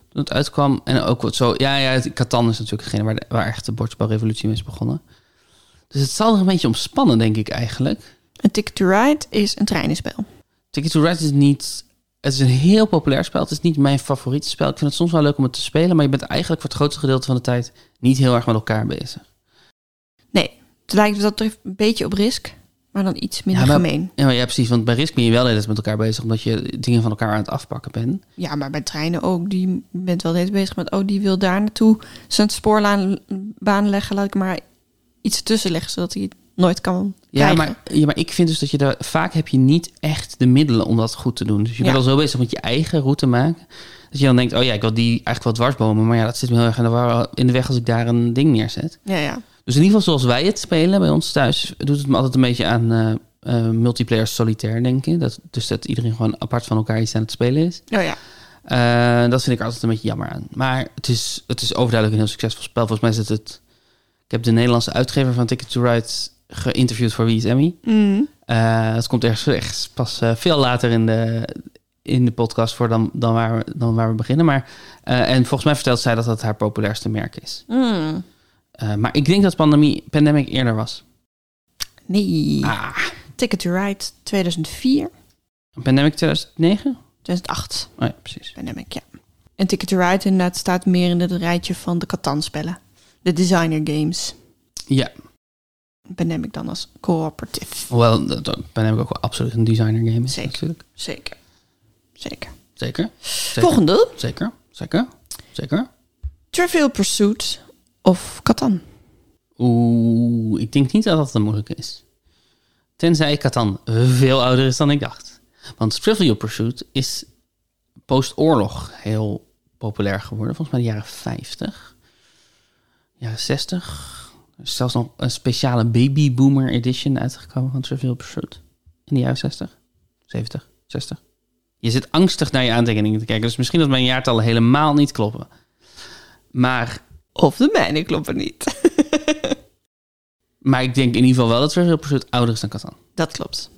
[SPEAKER 1] toen het uitkwam. En ook wat zo... Ja, ja, het- Catan is natuurlijk degene waar, de- waar echt de bordspelrevolutie mee is begonnen. Dus het zal er een beetje om spannen, denk ik eigenlijk.
[SPEAKER 2] Een Ticket to Ride is een treinenspel.
[SPEAKER 1] Ticket to Ride is niet... Het is een heel populair spel. Het is niet mijn favoriete spel. Ik vind het soms wel leuk om het te spelen. Maar je bent eigenlijk voor het grootste gedeelte van de tijd niet heel erg met elkaar bezig.
[SPEAKER 2] Het lijkt wat dat betreft een beetje op risk, maar dan iets minder
[SPEAKER 1] Ja, maar-
[SPEAKER 2] gemeen.
[SPEAKER 1] Ja, maar ja, precies. Want bij Risk ben je wel de hele tijd met elkaar bezig. Omdat je dingen van elkaar aan het afpakken bent.
[SPEAKER 2] Ja, maar bij treinen ook. Die je bent wel steeds bezig met, oh, die wil daar naartoe zijn spoorlaan baan leggen. Laat ik maar iets tussen leggen, zodat hij het nooit kan
[SPEAKER 1] Ja
[SPEAKER 2] krijgen.
[SPEAKER 1] maar, ja, maar ik vind dus dat je daar... Vaak heb je niet echt de middelen om dat goed te doen. Dus je bent
[SPEAKER 2] Ja.
[SPEAKER 1] al zo bezig met je eigen route maken. Dat je dan denkt, oh ja, ik wil die eigenlijk wel dwarsbomen. Maar ja, dat zit me heel erg in de, war- in de weg als ik daar een ding neerzet.
[SPEAKER 2] Ja, ja.
[SPEAKER 1] Dus in ieder geval zoals wij het spelen bij ons thuis... doet het me altijd een beetje aan eh, eh, multiplayer solitaire denken. Dat, dus dat iedereen gewoon apart van elkaar iets aan het spelen is.
[SPEAKER 2] Oh ja.
[SPEAKER 1] Eh, dat vind ik er altijd een beetje jammer aan. Maar het is, het is overduidelijk een heel succesvol spel. Volgens mij zit het... Ik heb de Nederlandse uitgever van Ticket to Ride geïnterviewd voor Wie is Emmy.
[SPEAKER 2] Mm.
[SPEAKER 1] Eh, het komt ergens, ergens pas eh, veel later in de, in de podcast voor dan, dan, waar we, dan waar we beginnen. Maar, eh, en volgens mij vertelt zij dat dat haar populairste merk is.
[SPEAKER 2] Mm.
[SPEAKER 1] Eh, maar ik denk dat pandemie, Pandemic eerder was.
[SPEAKER 2] Nee.
[SPEAKER 1] Ah,
[SPEAKER 2] Ticket to Ride 2004,
[SPEAKER 1] Pandemic 2009?
[SPEAKER 2] 2008.
[SPEAKER 1] Oh ja, precies.
[SPEAKER 2] Pandemic, ja. En Ticket to Ride inderdaad staat meer in het rijtje van de Catan-spellen. De designer games.
[SPEAKER 1] Ja.
[SPEAKER 2] Pandemic dan als coöperatief.
[SPEAKER 1] Hoewel, dat- dat- Pandemic ook wel absoluut een designer game is.
[SPEAKER 2] Zeker.
[SPEAKER 1] Natuurlijk.
[SPEAKER 2] Zeker. Zeker.
[SPEAKER 1] Zeker. Zeker.
[SPEAKER 2] Volgende.
[SPEAKER 1] Zeker. Zeker. Zeker.
[SPEAKER 2] Trivial Pursuit of Catan.
[SPEAKER 1] Oeh, ik denk niet dat dat een moeilijke is. Tenzij Catan veel ouder is dan ik dacht. Want Trivial Pursuit is post-oorlog heel populair geworden. Volgens mij de jaren 50, jaren 60. Er is zelfs nog een speciale Baby Boomer Edition uitgekomen van Trivial Pursuit. In de jaren 60, 70, 60. Je zit angstig naar je aantekeningen te kijken. Dus misschien dat mijn jaartallen helemaal niet kloppen. Maar
[SPEAKER 2] Of de mijne kloppen niet. <laughs>
[SPEAKER 1] Maar ik denk in ieder geval wel dat Trivial Pursuit ouder is dan Catan.
[SPEAKER 2] Dat klopt.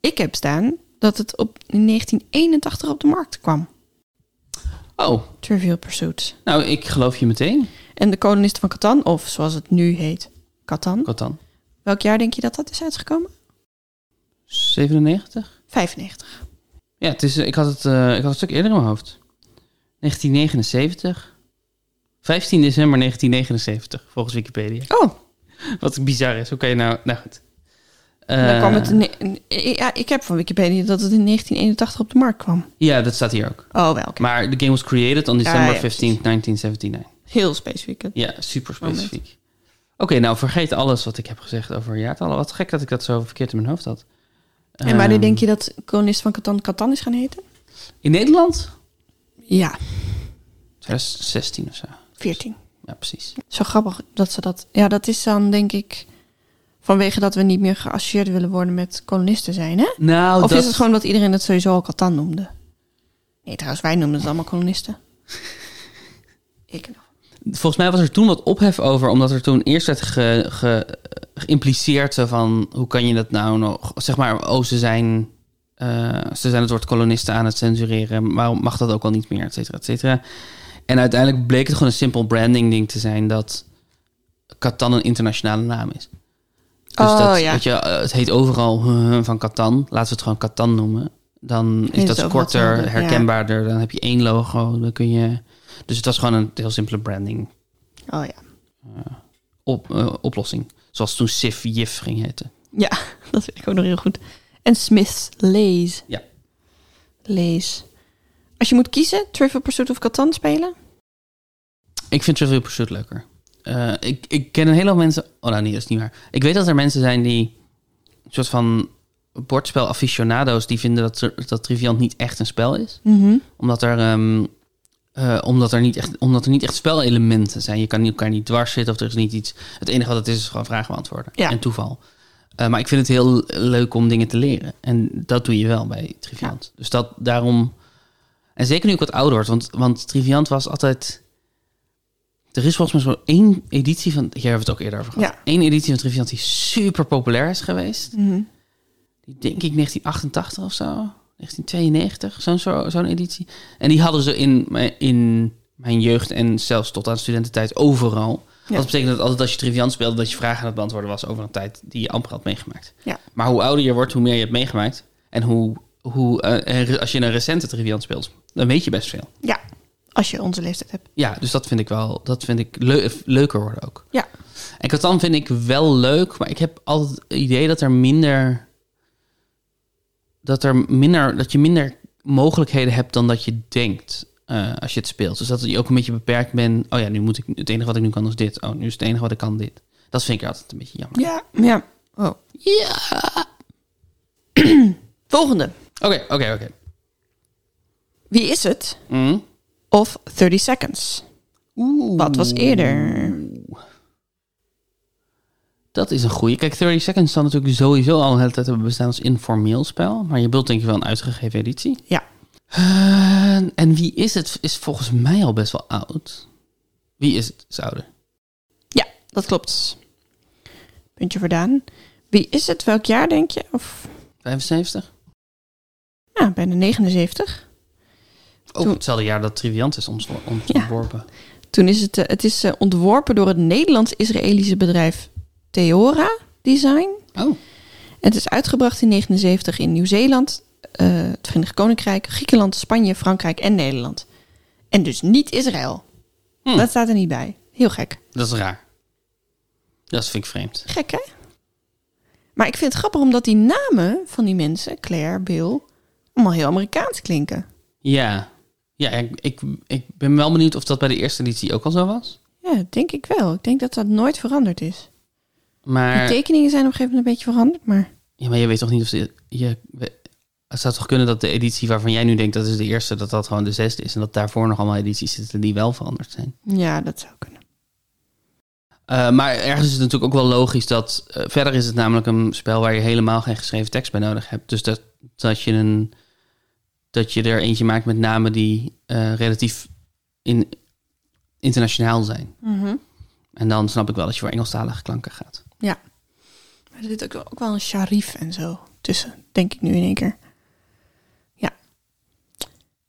[SPEAKER 2] Ik heb staan dat het op in 1981 op de markt kwam.
[SPEAKER 1] Oh,
[SPEAKER 2] Trivial Pursuit.
[SPEAKER 1] nou, ik geloof je meteen.
[SPEAKER 2] En de kolonist van Catan, of zoals het nu heet, Catan.
[SPEAKER 1] Catan.
[SPEAKER 2] Welk jaar denk je dat dat is uitgekomen?
[SPEAKER 1] 97?
[SPEAKER 2] 95.
[SPEAKER 1] Ja, het is, eh, ik, had het, eh, ik had het een stuk eerder in mijn hoofd. 1979. 15 december 1979, volgens Wikipedia.
[SPEAKER 2] Oh,
[SPEAKER 1] Wat bizar is. Hoe kan je nou... Nou goed.
[SPEAKER 2] Dan
[SPEAKER 1] Eh,
[SPEAKER 2] kwam het in- in- in- ja, ik heb van Wikipedia dat het in 1981 op de markt kwam.
[SPEAKER 1] Ja, dat staat hier ook.
[SPEAKER 2] Oh, wel, oké.
[SPEAKER 1] Maar de game was created on December
[SPEAKER 2] Ja, ja,
[SPEAKER 1] 15th, 1979.
[SPEAKER 2] Heel specifiek. hè?
[SPEAKER 1] Ja, super
[SPEAKER 2] Moment.
[SPEAKER 1] specifiek. Oké, nou vergeet alles wat ik heb gezegd over jaartallen. Wat gek dat ik dat zo verkeerd in mijn hoofd had.
[SPEAKER 2] En wanneer
[SPEAKER 1] Ehm,
[SPEAKER 2] denk je dat Kolonist van Catan Catan is gaan heten?
[SPEAKER 1] In Nederland?
[SPEAKER 2] Ja,
[SPEAKER 1] 2016 of zo.
[SPEAKER 2] 14.
[SPEAKER 1] Ja, precies.
[SPEAKER 2] Zo grappig dat ze dat... Ja, dat is dan denk ik vanwege dat we niet meer geassocieerd willen worden met kolonisten zijn, hè?
[SPEAKER 1] Nou,
[SPEAKER 2] of
[SPEAKER 1] dat...
[SPEAKER 2] is het gewoon dat iedereen het sowieso al Catan noemde? Nee, trouwens, wij noemden het allemaal
[SPEAKER 1] <laughs>
[SPEAKER 2] kolonisten. ik nog.
[SPEAKER 1] Volgens mij was er toen wat ophef over, omdat er toen eerst werd ge, ge- geïmpliceerd zo van hoe kan je dat nou nog, zeg maar, oh ze zijn, eh, ze zijn het woord kolonisten aan het censureren, waarom mag dat ook al niet meer, et cetera, et cetera. En uiteindelijk bleek het gewoon een simpel branding ding te zijn dat Catan een internationale naam is. Dus
[SPEAKER 2] Oh,
[SPEAKER 1] dat,
[SPEAKER 2] ja.
[SPEAKER 1] weet je, eh, het heet overal <laughs> van Catan, laten we het gewoon Catan noemen. Dan is
[SPEAKER 2] Is
[SPEAKER 1] dat
[SPEAKER 2] het ook wat helder, ja.
[SPEAKER 1] korter, herkenbaarder, dan heb je één logo, dan kun je... Dus het was gewoon een heel simpele branding
[SPEAKER 2] Oh ja.
[SPEAKER 1] op, eh, oplossing. Zoals toen Sif Jif ging heten.
[SPEAKER 2] Ja, dat vind ik ook nog heel goed. En Smith's Lays.
[SPEAKER 1] Ja.
[SPEAKER 2] Lays. Als je moet kiezen, Trivial Pursuit of Catan spelen?
[SPEAKER 1] Ik vind Trivial Pursuit leuker. Eh, ik, ik ken een heleboel mensen... Oh, nou nee, dat is niet waar. Ik weet dat er mensen zijn die... Een soort van bordspel aficionado's... die vinden dat, tr- dat Triviant niet echt een spel is.
[SPEAKER 2] Mhm.
[SPEAKER 1] Omdat er... ehm, eh, omdat, er niet echt, omdat er niet echt spelelementen zijn. Je kan elkaar niet dwars zitten of er is niet iets... Het enige wat het is, is gewoon vragen beantwoorden.
[SPEAKER 2] Ja.
[SPEAKER 1] En toeval. Eh, maar ik vind het heel leuk om dingen te leren. En dat doe je wel bij Triviant. Dus dat daarom... En zeker nu ik wat ouder word. Want, want Triviant was altijd... Er is volgens mij zo één editie van... Hier hebben we het ook eerder over gehad.
[SPEAKER 2] Ja.
[SPEAKER 1] Eén editie van Triviant die super populair is geweest.
[SPEAKER 2] Mhm.
[SPEAKER 1] Die denk ik 1988 of zo. 1992, zo'n zo, zo'n editie. En die hadden ze in, in mijn jeugd en zelfs tot aan studententijd overal.
[SPEAKER 2] Ja.
[SPEAKER 1] Dat betekent dat altijd als je triviant speelde, dat je vragen aan het beantwoorden was over een tijd die je amper had meegemaakt.
[SPEAKER 2] Ja.
[SPEAKER 1] Maar hoe ouder je wordt, hoe meer je hebt meegemaakt. En hoe, hoe, eh, er- als je een recente triviant speelt, dan weet je best veel.
[SPEAKER 2] Ja, als je onze leeftijd hebt.
[SPEAKER 1] Ja, dus dat vind ik wel, dat vind ik leu- leuker worden ook.
[SPEAKER 2] Ja.
[SPEAKER 1] En Catan vind ik wel leuk, maar ik heb altijd het idee dat er minder, dat er minder, dat je minder mogelijkheden hebt dan dat je denkt eh, als je het speelt. Dus dat je ook een beetje beperkt bent. Oh ja, nu moet ik, het enige wat ik nu kan is dit. Oh, nu is het enige wat ik kan dit. Dat vind ik altijd een beetje jammer.
[SPEAKER 2] Ja, ja. Oh.
[SPEAKER 1] Ja.
[SPEAKER 2] <clears throat> Volgende.
[SPEAKER 1] Oké, oké, oké.
[SPEAKER 2] Wie is het?
[SPEAKER 1] Mm.
[SPEAKER 2] Of 30 seconds. Wat was eerder?
[SPEAKER 1] Dat is een goeie. Kijk, 30 Seconds zal natuurlijk sowieso al een hele tijd hebben bestaan als informeel spel. Maar je wilt denk ik wel een uitgegeven editie.
[SPEAKER 2] Ja.
[SPEAKER 1] Eh, en wie is het? Is volgens mij al best wel oud. Wie is het? Is ouder.
[SPEAKER 2] Ja, dat klopt. Puntje voor Daan. Wie is het? Welk jaar denk je? Of
[SPEAKER 1] 75?
[SPEAKER 2] ja, bijna 79.
[SPEAKER 1] Ook
[SPEAKER 2] Toen-
[SPEAKER 1] Oh, hetzelfde jaar dat Triviant is ontslo- ont-
[SPEAKER 2] Ja.
[SPEAKER 1] ontworpen.
[SPEAKER 2] Toen is het, eh, het is eh, ontworpen door het Nederlands-Israëlische bedrijf Theora Design.
[SPEAKER 1] Oh,
[SPEAKER 2] Het is uitgebracht in 1979 in Nieuw-Zeeland, eh, het Verenigd Koninkrijk, Griekenland, Spanje, Frankrijk en Nederland. En dus niet Israël.
[SPEAKER 1] Hm.
[SPEAKER 2] Dat staat er niet bij. Heel gek.
[SPEAKER 1] dat is raar. Dat vind ik vreemd.
[SPEAKER 2] Gek, hè? Maar ik vind het grappig omdat die namen van die mensen, Claire, Bill, allemaal heel Amerikaans klinken.
[SPEAKER 1] Ja. Ja, ik, ik, ik ben wel benieuwd of dat bij de eerste editie ook al zo was.
[SPEAKER 2] Ja, dat denk ik wel. Ik denk dat dat nooit veranderd is. De
[SPEAKER 1] Maar,
[SPEAKER 2] tekeningen zijn op een gegeven moment een beetje veranderd, maar...
[SPEAKER 1] ja, maar je weet toch niet of... De, je, het zou toch kunnen dat de editie waarvan jij nu denkt dat is de eerste, dat dat gewoon de zesde is. En dat daarvoor nog allemaal edities zitten die wel veranderd zijn.
[SPEAKER 2] Ja, dat zou kunnen.
[SPEAKER 1] Eh, maar ergens is het natuurlijk ook wel logisch dat... eh, verder is het namelijk een spel waar je helemaal geen geschreven tekst bij nodig hebt. Dus dat, dat, je, een, dat je er eentje maakt met namen die eh, relatief in, internationaal zijn.
[SPEAKER 2] Mhm.
[SPEAKER 1] En dan snap ik wel dat je voor Engelstalige klanken gaat.
[SPEAKER 2] Ja. Maar er zit ook, ook wel een sharif en zo tussen, denk ik nu in één keer. Ja.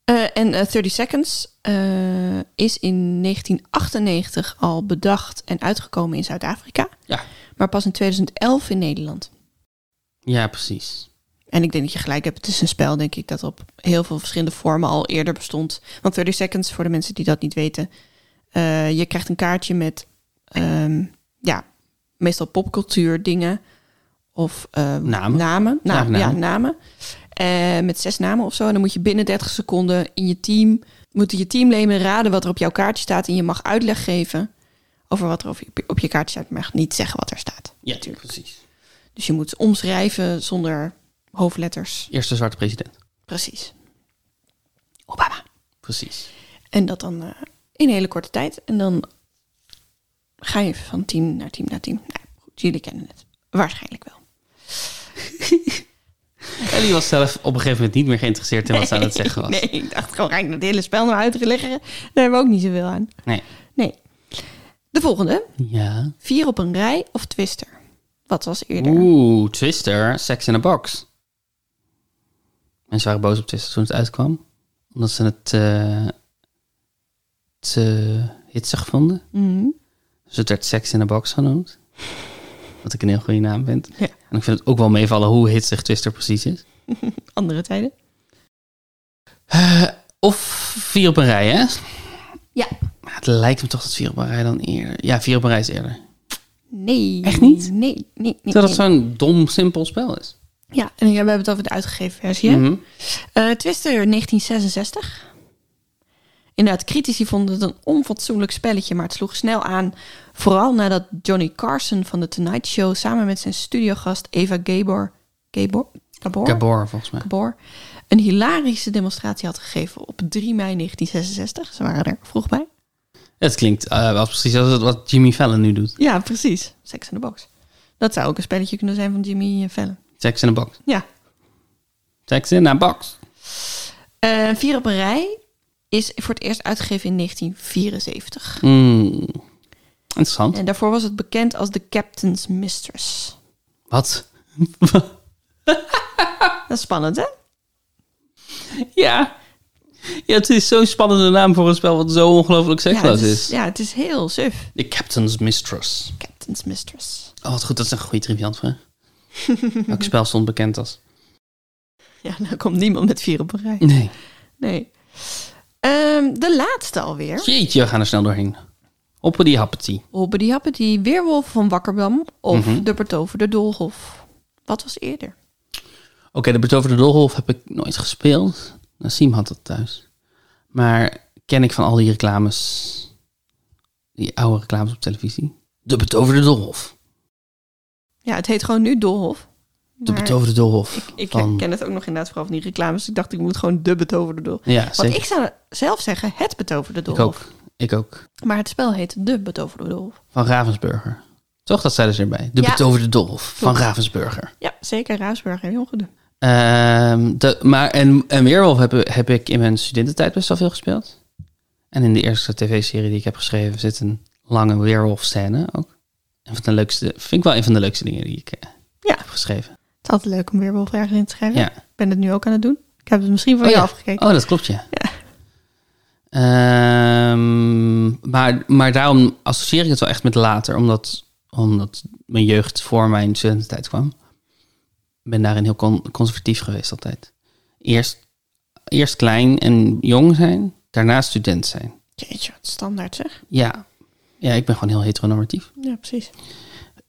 [SPEAKER 2] Eh, en eh, 30 Seconds eh, is in 1998 al bedacht en uitgekomen in Zuid-Afrika.
[SPEAKER 1] Ja.
[SPEAKER 2] Maar pas in 2011 in Nederland.
[SPEAKER 1] Ja, precies.
[SPEAKER 2] En ik denk dat je gelijk hebt. Het is een spel, denk ik, dat op heel veel verschillende vormen al eerder bestond. Want 30 Seconds, voor de mensen die dat niet weten. eh, je krijgt een kaartje met, ehm, ja, meestal popcultuur dingen. Of eh,
[SPEAKER 1] Namen.
[SPEAKER 2] Namen. Na-
[SPEAKER 1] Ja, namen.
[SPEAKER 2] Ja, namen. Eh, met zes namen of zo. En dan moet je binnen 30 seconden in je team... moeten je teamleden raden wat er op jouw kaartje staat. En je mag uitleg geven over wat er op je, op je kaartje staat. Maar je mag niet zeggen wat er staat.
[SPEAKER 1] Ja, natuurlijk. Precies.
[SPEAKER 2] Dus je moet ze omschrijven zonder hoofdletters.
[SPEAKER 1] Eerste zwarte president.
[SPEAKER 2] Precies. Obama.
[SPEAKER 1] Precies.
[SPEAKER 2] En dat dan eh, in een hele korte tijd. En dan ga je van team naar team naar team. Nou, goed, jullie kennen het. Waarschijnlijk wel.
[SPEAKER 1] Ellie was zelf op een gegeven moment niet meer geïnteresseerd in wat ze aan
[SPEAKER 2] <laughs>
[SPEAKER 1] het zeggen was.
[SPEAKER 2] Nee, ik dacht gewoon, ga ik dat hele spel nou uitleggen? Daar hebben we ook niet zoveel aan.
[SPEAKER 1] Nee.
[SPEAKER 2] Nee. De volgende.
[SPEAKER 1] Ja.
[SPEAKER 2] Vier op een rij of twister? Wat was eerder?
[SPEAKER 1] Oeh, Twister, Sex in a Box. Mensen waren boos op Twister toen het uitkwam. Omdat ze het eh, te hitsig vonden.
[SPEAKER 2] Mhm. <laughs>
[SPEAKER 1] Dus het werd Sex in a Box genoemd. Wat ik een heel goede naam vind.
[SPEAKER 2] Ja.
[SPEAKER 1] En ik vind het ook wel meevallen hoe hitsig Twister precies is.
[SPEAKER 2] Andere tijden.
[SPEAKER 1] Eh, Of vier op een rij, hè?
[SPEAKER 2] Ja.
[SPEAKER 1] Maar Het lijkt me toch dat vier op een rij dan eerder... Ja, vier op een rij is eerder.
[SPEAKER 2] Nee.
[SPEAKER 1] Echt niet?
[SPEAKER 2] Nee, nee, nee.
[SPEAKER 1] Terwijl
[SPEAKER 2] nee.
[SPEAKER 1] dat zo'n dom, simpel spel is.
[SPEAKER 2] Ja, en we hebben het over de uitgegeven versie. hè?
[SPEAKER 1] Mhm.
[SPEAKER 2] Eh, Twister 1966. Inderdaad, critici vonden het een onfatsoenlijk spelletje, maar het sloeg snel aan. Vooral nadat Johnny Carson van The Tonight Show samen met zijn studiogast Eva Gabor, Gabor, Gabor,
[SPEAKER 1] Gabor, volgens mij.
[SPEAKER 2] Gabor een hilarische demonstratie had gegeven op 3 mei 1966. Ze waren er vroeg bij.
[SPEAKER 1] Het klinkt eh, wel precies als het wat Jimmy Fallon nu doet.
[SPEAKER 2] Ja, precies. Sex in the Box. Dat zou ook een spelletje kunnen zijn van Jimmy Fallon.
[SPEAKER 1] Sex in a Box.
[SPEAKER 2] Ja,
[SPEAKER 1] Sex in a Box.
[SPEAKER 2] Eh, Vier op een rij is voor het eerst uitgegeven in 1974.
[SPEAKER 1] Mm. Interessant.
[SPEAKER 2] En daarvoor was het bekend als de Captain's Mistress.
[SPEAKER 1] Wat?
[SPEAKER 2] Dat is spannend, hè?
[SPEAKER 1] Ja. Ja, het is zo'n spannende naam voor een spel wat zo ongelooflijk
[SPEAKER 2] ja, het
[SPEAKER 1] seksloos
[SPEAKER 2] is,
[SPEAKER 1] is.
[SPEAKER 2] ja, het is heel suf.
[SPEAKER 1] The Captain's Mistress.
[SPEAKER 2] Captain's Mistress.
[SPEAKER 1] Oh, wat goed, dat is een goede
[SPEAKER 2] <laughs>
[SPEAKER 1] triviantvraag. Welk spel stond bekend als?
[SPEAKER 2] Ja, nou komt niemand met vier op een rij.
[SPEAKER 1] Nee.
[SPEAKER 2] Nee. Ehm, de laatste alweer.
[SPEAKER 1] Jeetje, we gaan er snel doorheen. Hoppity happity.
[SPEAKER 2] Hobbity Happity, Weerwolf van Wakkerbam of
[SPEAKER 1] Mhm.
[SPEAKER 2] De Betoverde Doolhof. Wat was eerder?
[SPEAKER 1] Oké, de Betoverde Doolhof heb ik nooit gespeeld. Nassim had dat thuis. Maar ken ik van al die reclames, die oude reclames op televisie? De Betoverde Doolhof.
[SPEAKER 2] Ja, het heet gewoon nu Doolhof.
[SPEAKER 1] De
[SPEAKER 2] maar
[SPEAKER 1] Betoverde Doolhof.
[SPEAKER 2] Ik, ik
[SPEAKER 1] van-
[SPEAKER 2] ken het ook nog inderdaad vooral van die reclames. Ik dacht, ik moet gewoon De Betoverde Doolhof.
[SPEAKER 1] Ja,
[SPEAKER 2] Want
[SPEAKER 1] zeker.
[SPEAKER 2] ik zou zelf zeggen Het Betoverde
[SPEAKER 1] Ik
[SPEAKER 2] Doolhof.
[SPEAKER 1] ook. Ik ook.
[SPEAKER 2] Maar het spel heet De Betoverde Doolhof.
[SPEAKER 1] Van Ravensburger. Toch, dat zeiden ze erbij. De
[SPEAKER 2] Ja.
[SPEAKER 1] Betoverde Doolhof van
[SPEAKER 2] Klopt.
[SPEAKER 1] Ravensburger.
[SPEAKER 2] Ja, zeker. Raasburg en Jongede.
[SPEAKER 1] Ehm, de- maar en, en Weerwolf heb, heb ik in mijn studententijd best wel veel gespeeld. En in de eerste tv-serie die ik heb geschreven zit een lange Weerwolf-scène ook. Een van de leukste, vind ik wel een van de leukste dingen die ik eh,
[SPEAKER 2] Ja.
[SPEAKER 1] heb geschreven.
[SPEAKER 2] Het is altijd leuk om Weerwolf ergens in te schrijven.
[SPEAKER 1] Ja.
[SPEAKER 2] Ik ben het nu ook aan het doen. Ik heb het misschien van
[SPEAKER 1] Oh
[SPEAKER 2] je
[SPEAKER 1] ja.
[SPEAKER 2] afgekeken.
[SPEAKER 1] Oh, dat klopt, ja. Ehm, maar, maar daarom associeer ik het wel echt met later, omdat, omdat mijn jeugd voor mijn studententijd kwam. Ik ben daarin heel con- conservatief geweest altijd. Eerst, eerst klein en jong zijn, daarna student zijn.
[SPEAKER 2] Jeetje, wat standaard zeg.
[SPEAKER 1] Ja, ja ik ben gewoon heel heteronormatief.
[SPEAKER 2] Ja, precies.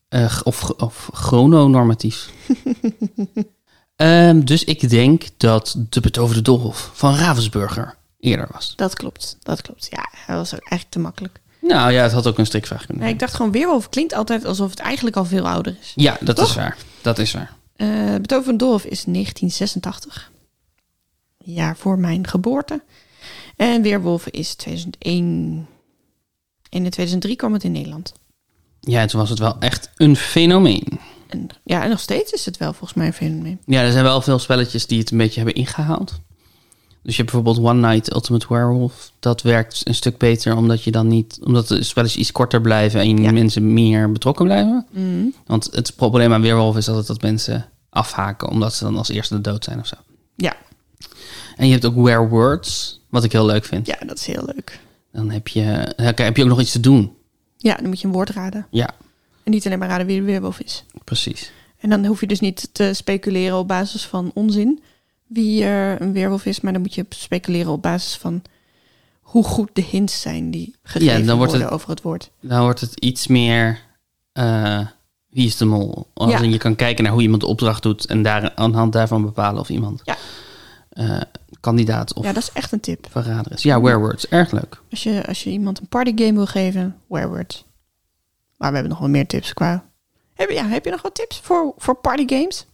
[SPEAKER 1] Eh, g- of, of
[SPEAKER 2] <laughs>
[SPEAKER 1] chrononormatief. Ehm, dus ik denk dat De Betoverde Dolhof van Ravensburger eerder was.
[SPEAKER 2] Dat klopt, dat klopt. Ja, dat was ook eigenlijk te makkelijk.
[SPEAKER 1] Nou ja, het had ook een strikvraag kunnen
[SPEAKER 2] Nee, ik dacht gewoon, Weerwolf klinkt altijd alsof het eigenlijk al veel ouder is.
[SPEAKER 1] Ja, dat
[SPEAKER 2] Toch?
[SPEAKER 1] is waar. Dat is waar.
[SPEAKER 2] Eh Beethoven Dolf is 1986. Een jaar voor mijn geboorte. En Weerwolf is 2001. En in 2003 kwam het in Nederland.
[SPEAKER 1] Ja, toen was het wel echt een fenomeen.
[SPEAKER 2] En, ja, en nog steeds is het wel volgens mij een fenomeen.
[SPEAKER 1] Ja, er zijn wel veel spelletjes die het een beetje hebben ingehaald. Dus je hebt bijvoorbeeld One Night Ultimate Werewolf. Dat werkt een stuk beter omdat je dan niet, omdat de spelletjes iets korter blijven en
[SPEAKER 2] Ja. Mhm.
[SPEAKER 1] mensen meer betrokken blijven. Want het probleem aan Weerwolf is altijd dat mensen afhaken omdat ze dan als eerste dood zijn of zo.
[SPEAKER 2] Ja,
[SPEAKER 1] En je hebt ook Werewords, wat ik heel leuk vind.
[SPEAKER 2] ja, dat is heel leuk.
[SPEAKER 1] Dan heb je, dan heb je ook nog iets te doen.
[SPEAKER 2] Ja, dan moet je een woord raden.
[SPEAKER 1] Ja,
[SPEAKER 2] En niet alleen maar raden wie de Weerwolf is.
[SPEAKER 1] precies.
[SPEAKER 2] En dan hoef je dus niet te speculeren op basis van onzin wie er een weerwolf is, maar dan moet je speculeren op basis van hoe goed de hints zijn die gegeven
[SPEAKER 1] Ja, dan wordt
[SPEAKER 2] worden
[SPEAKER 1] het-
[SPEAKER 2] over het woord.
[SPEAKER 1] dan wordt het iets meer eh, wie is de mol. Als
[SPEAKER 2] Ja.
[SPEAKER 1] in je kan kijken naar hoe iemand de opdracht doet en daar, aan de hand daarvan bepalen of iemand
[SPEAKER 2] Ja.
[SPEAKER 1] eh, kandidaat of
[SPEAKER 2] Ja, dat is echt een tip.
[SPEAKER 1] verrader is. Ja, werewords, erg leuk.
[SPEAKER 2] Als je, als je iemand een partygame wil geven, werewolf. Maar we hebben nog wel meer tips qua... Heb, je- ja, heb je nog wat tips voor, voor partygames?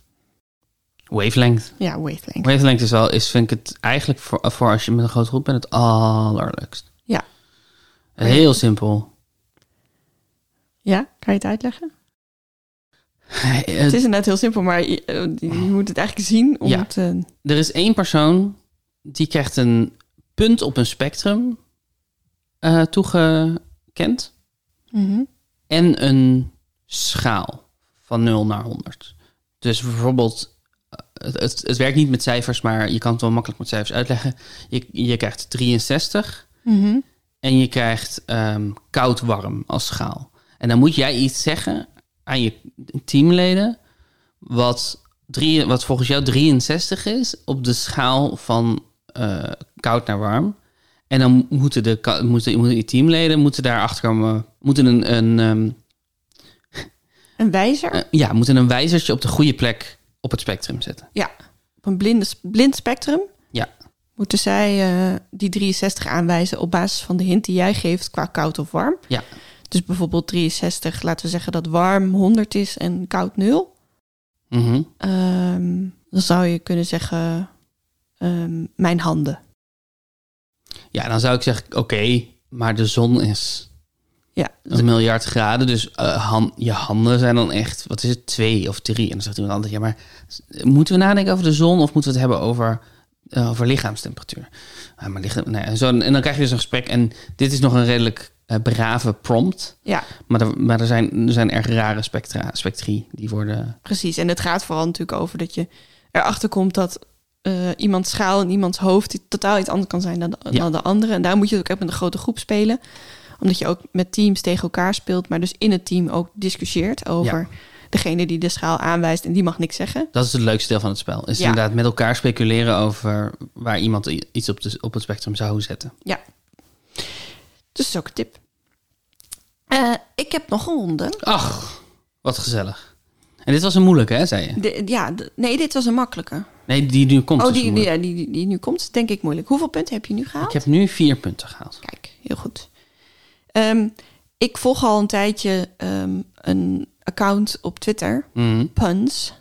[SPEAKER 1] Wavelength.
[SPEAKER 2] Ja, wavelength.
[SPEAKER 1] Wavelength is wel, is, vind ik het eigenlijk voor, voor als je met een grote groep bent, het allerleukst.
[SPEAKER 2] Ja.
[SPEAKER 1] Heel simpel.
[SPEAKER 2] Ja, kan je het uitleggen? Het
[SPEAKER 1] Het-
[SPEAKER 2] is inderdaad heel simpel, maar je, eh, je moet het eigenlijk zien om
[SPEAKER 1] Oh. Ja.
[SPEAKER 2] te...
[SPEAKER 1] Er is één persoon die krijgt een punt op een spectrum eh, toegekend.
[SPEAKER 2] Mhm.
[SPEAKER 1] en een schaal van 0 naar 100. Dus bijvoorbeeld, eh, het, het, het werkt niet met cijfers, maar je kan het wel makkelijk met cijfers uitleggen. Je, je krijgt 63
[SPEAKER 2] Mhm.
[SPEAKER 1] en je krijgt ehm, koud warm als schaal. En dan moet jij iets zeggen aan je teamleden wat, drie, wat volgens jou 63 is op de schaal van eh, koud naar warm. En dan moeten de ka- moeten, moeten je teamleden moeten daar achter komen, moeten een, een ehm,
[SPEAKER 2] Een wijzer?
[SPEAKER 1] eh, ja, moeten een wijzertje op de goede plek op het spectrum zetten.
[SPEAKER 2] Ja, op een blinde, blind spectrum
[SPEAKER 1] Ja,
[SPEAKER 2] moeten zij eh, die 63 aanwijzen op basis van de hint die jij geeft qua koud of warm.
[SPEAKER 1] ja,
[SPEAKER 2] Dus bijvoorbeeld 63, laten we zeggen dat warm 100 is en koud 0.
[SPEAKER 1] mhm.
[SPEAKER 2] Ehm, dan zou je kunnen zeggen ehm, mijn handen.
[SPEAKER 1] ja dan zou ik zeggen, oké, maar de zon is
[SPEAKER 2] Ja,
[SPEAKER 1] een miljard graden, dus eh, han- je handen zijn dan echt, wat is het, twee of drie? En dan zegt iemand anders, ja, maar s- moeten we nadenken over de zon of moeten we het hebben over, eh, over lichaamstemperatuur? Ah, maar lichaam, nou ja, zo, en dan krijg je dus een gesprek en dit is nog een redelijk eh, brave prompt,
[SPEAKER 2] ja,
[SPEAKER 1] maar er, maar er, zijn, er zijn erg rare spectra, spectri die worden...
[SPEAKER 2] precies. En het gaat vooral natuurlijk over dat je erachter komt dat eh, iemands schaal en iemands hoofd die totaal iets anders kan zijn dan de,
[SPEAKER 1] Ja.
[SPEAKER 2] dan de andere. En daar moet je het ook echt met een grote groep spelen. Omdat je ook met teams tegen elkaar speelt, maar dus in het team ook discussieert over degene die de schaal aanwijst en die mag niks zeggen.
[SPEAKER 1] Dat is het leukste deel van het spel. Is
[SPEAKER 2] Ja.
[SPEAKER 1] inderdaad met elkaar speculeren over waar iemand i- iets op, de, op het spectrum zou zetten.
[SPEAKER 2] Dus dat is ook een tip. Eh, ik heb nog een ronde.
[SPEAKER 1] Ach, wat gezellig. En dit was een moeilijke, hè, zei je?
[SPEAKER 2] De- ja, de- nee, dit was een makkelijke.
[SPEAKER 1] Nee, die nu komt.
[SPEAKER 2] oh,
[SPEAKER 1] is
[SPEAKER 2] die, die,
[SPEAKER 1] moeilijk.
[SPEAKER 2] ja, die, die, die nu komt, is denk ik moeilijk. Hoeveel punten heb je nu gehaald?
[SPEAKER 1] Ik heb nu vier punten gehaald.
[SPEAKER 2] Kijk, heel goed. Ehm, ik volg al een tijdje ehm, een account op Twitter,
[SPEAKER 1] Mhm.
[SPEAKER 2] puns,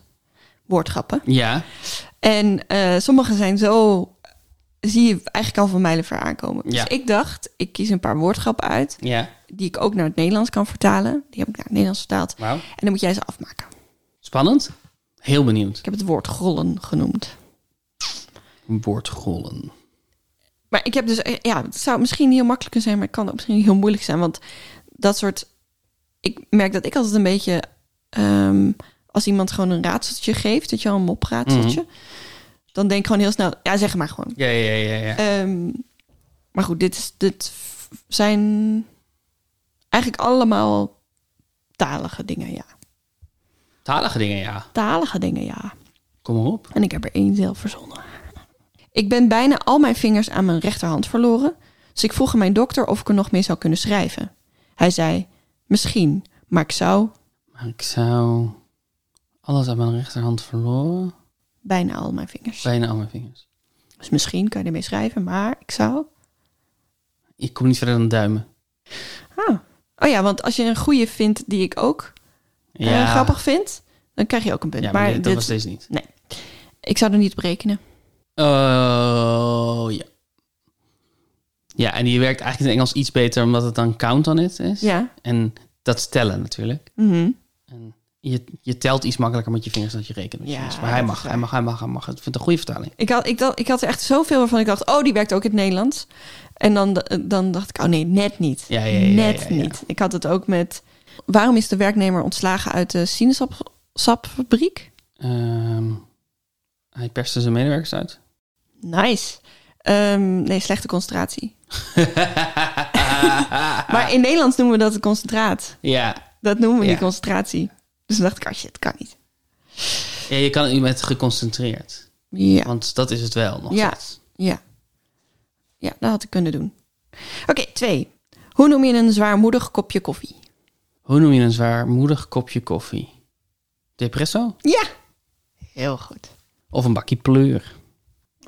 [SPEAKER 2] woordgrappen.
[SPEAKER 1] Ja,
[SPEAKER 2] En eh, sommige zijn zo, zie je eigenlijk al van mijlenver aankomen.
[SPEAKER 1] Ja.
[SPEAKER 2] Dus ik dacht, ik kies een paar woordgrappen uit,
[SPEAKER 1] ja.
[SPEAKER 2] die ik ook naar het Nederlands kan vertalen. Die heb ik naar het Nederlands vertaald.
[SPEAKER 1] Wauw.
[SPEAKER 2] En dan moet jij ze afmaken.
[SPEAKER 1] Spannend. Heel benieuwd.
[SPEAKER 2] Ik heb het woord grollen genoemd.
[SPEAKER 1] Woordgrollen.
[SPEAKER 2] Maar ik heb dus, eh, ja, het zou misschien heel makkelijk kunnen zijn, maar het kan ook misschien heel moeilijk zijn. Want dat soort, ik merk dat ik altijd een beetje, ehm, als iemand gewoon een raadseltje geeft, dat je al een mopraadseltje, dan denk ik gewoon heel snel, ja, zeg maar gewoon.
[SPEAKER 1] Ja, ja, ja, ja.
[SPEAKER 2] Ehm, maar goed, dit, is, dit f- zijn eigenlijk allemaal talige dingen, ja.
[SPEAKER 1] Talige dingen, ja.
[SPEAKER 2] Talige dingen, ja.
[SPEAKER 1] Kom maar op.
[SPEAKER 2] En ik heb er één zelf verzonnen. Ik ben bijna al mijn vingers aan mijn rechterhand verloren, dus ik vroeg aan mijn dokter of ik er nog mee zou kunnen schrijven. Hij zei: Misschien, maar ik zou
[SPEAKER 1] Maar ik zou alles aan mijn rechterhand verloren.
[SPEAKER 2] bijna al mijn vingers.
[SPEAKER 1] Bijna al mijn vingers.
[SPEAKER 2] Dus misschien kan je ermee schrijven, maar ik zou.
[SPEAKER 1] Ik kom niet verder dan duimen.
[SPEAKER 2] Ah. Oh ja, want als je een goede vindt die ik ook eh,
[SPEAKER 1] Ja,
[SPEAKER 2] grappig vind, dan krijg je ook een punt.
[SPEAKER 1] Ja, maar,
[SPEAKER 2] maar
[SPEAKER 1] dit- dat
[SPEAKER 2] dit,
[SPEAKER 1] was deze niet.
[SPEAKER 2] ik zou er niet op rekenen.
[SPEAKER 1] Oh, ja. Ja, en die werkt eigenlijk in het Engels iets beter omdat het dan count on it is.
[SPEAKER 2] Ja.
[SPEAKER 1] En dat is tellen natuurlijk.
[SPEAKER 2] Mhm.
[SPEAKER 1] En je, je telt iets makkelijker met je vingers dan je rekent met je
[SPEAKER 2] Ja,
[SPEAKER 1] vingers. Maar hij
[SPEAKER 2] dat is
[SPEAKER 1] mag,
[SPEAKER 2] waar.
[SPEAKER 1] hij mag, hij mag, hij mag. Ik vind het een goede vertaling.
[SPEAKER 2] Ik had, ik, dacht, ik had er echt zoveel waarvan ik dacht, oh, die werkt ook in het Nederlands. En dan, dan dacht ik, oh nee, net niet.
[SPEAKER 1] Ja, ja, ja,
[SPEAKER 2] net
[SPEAKER 1] ja, ja.
[SPEAKER 2] niet. Ik had het ook met, waarom is de werknemer ontslagen uit de sinaasappelfabriek?
[SPEAKER 1] Ehm, hij perste zijn medewerkers uit.
[SPEAKER 2] Nice. Ehm, nee, slechte
[SPEAKER 1] <laughs>
[SPEAKER 2] concentratie. Maar in Nederlands noemen we dat een concentraat.
[SPEAKER 1] ja.
[SPEAKER 2] Dat noemen we
[SPEAKER 1] Ja.
[SPEAKER 2] niet concentratie. Dus dan dacht ik, oh shit, kan niet.
[SPEAKER 1] ja, je kan het niet met geconcentreerd.
[SPEAKER 2] Ja,
[SPEAKER 1] Want dat is het wel nog
[SPEAKER 2] Ja.
[SPEAKER 1] steeds.
[SPEAKER 2] ja. Ja, dat had ik kunnen doen. Oké, twee. Hoe noem je een zwaarmoedig kopje koffie?
[SPEAKER 1] Hoe noem je een zwaarmoedig kopje koffie? Depresso?
[SPEAKER 2] Ja. Heel goed.
[SPEAKER 1] Of een bakje pleur?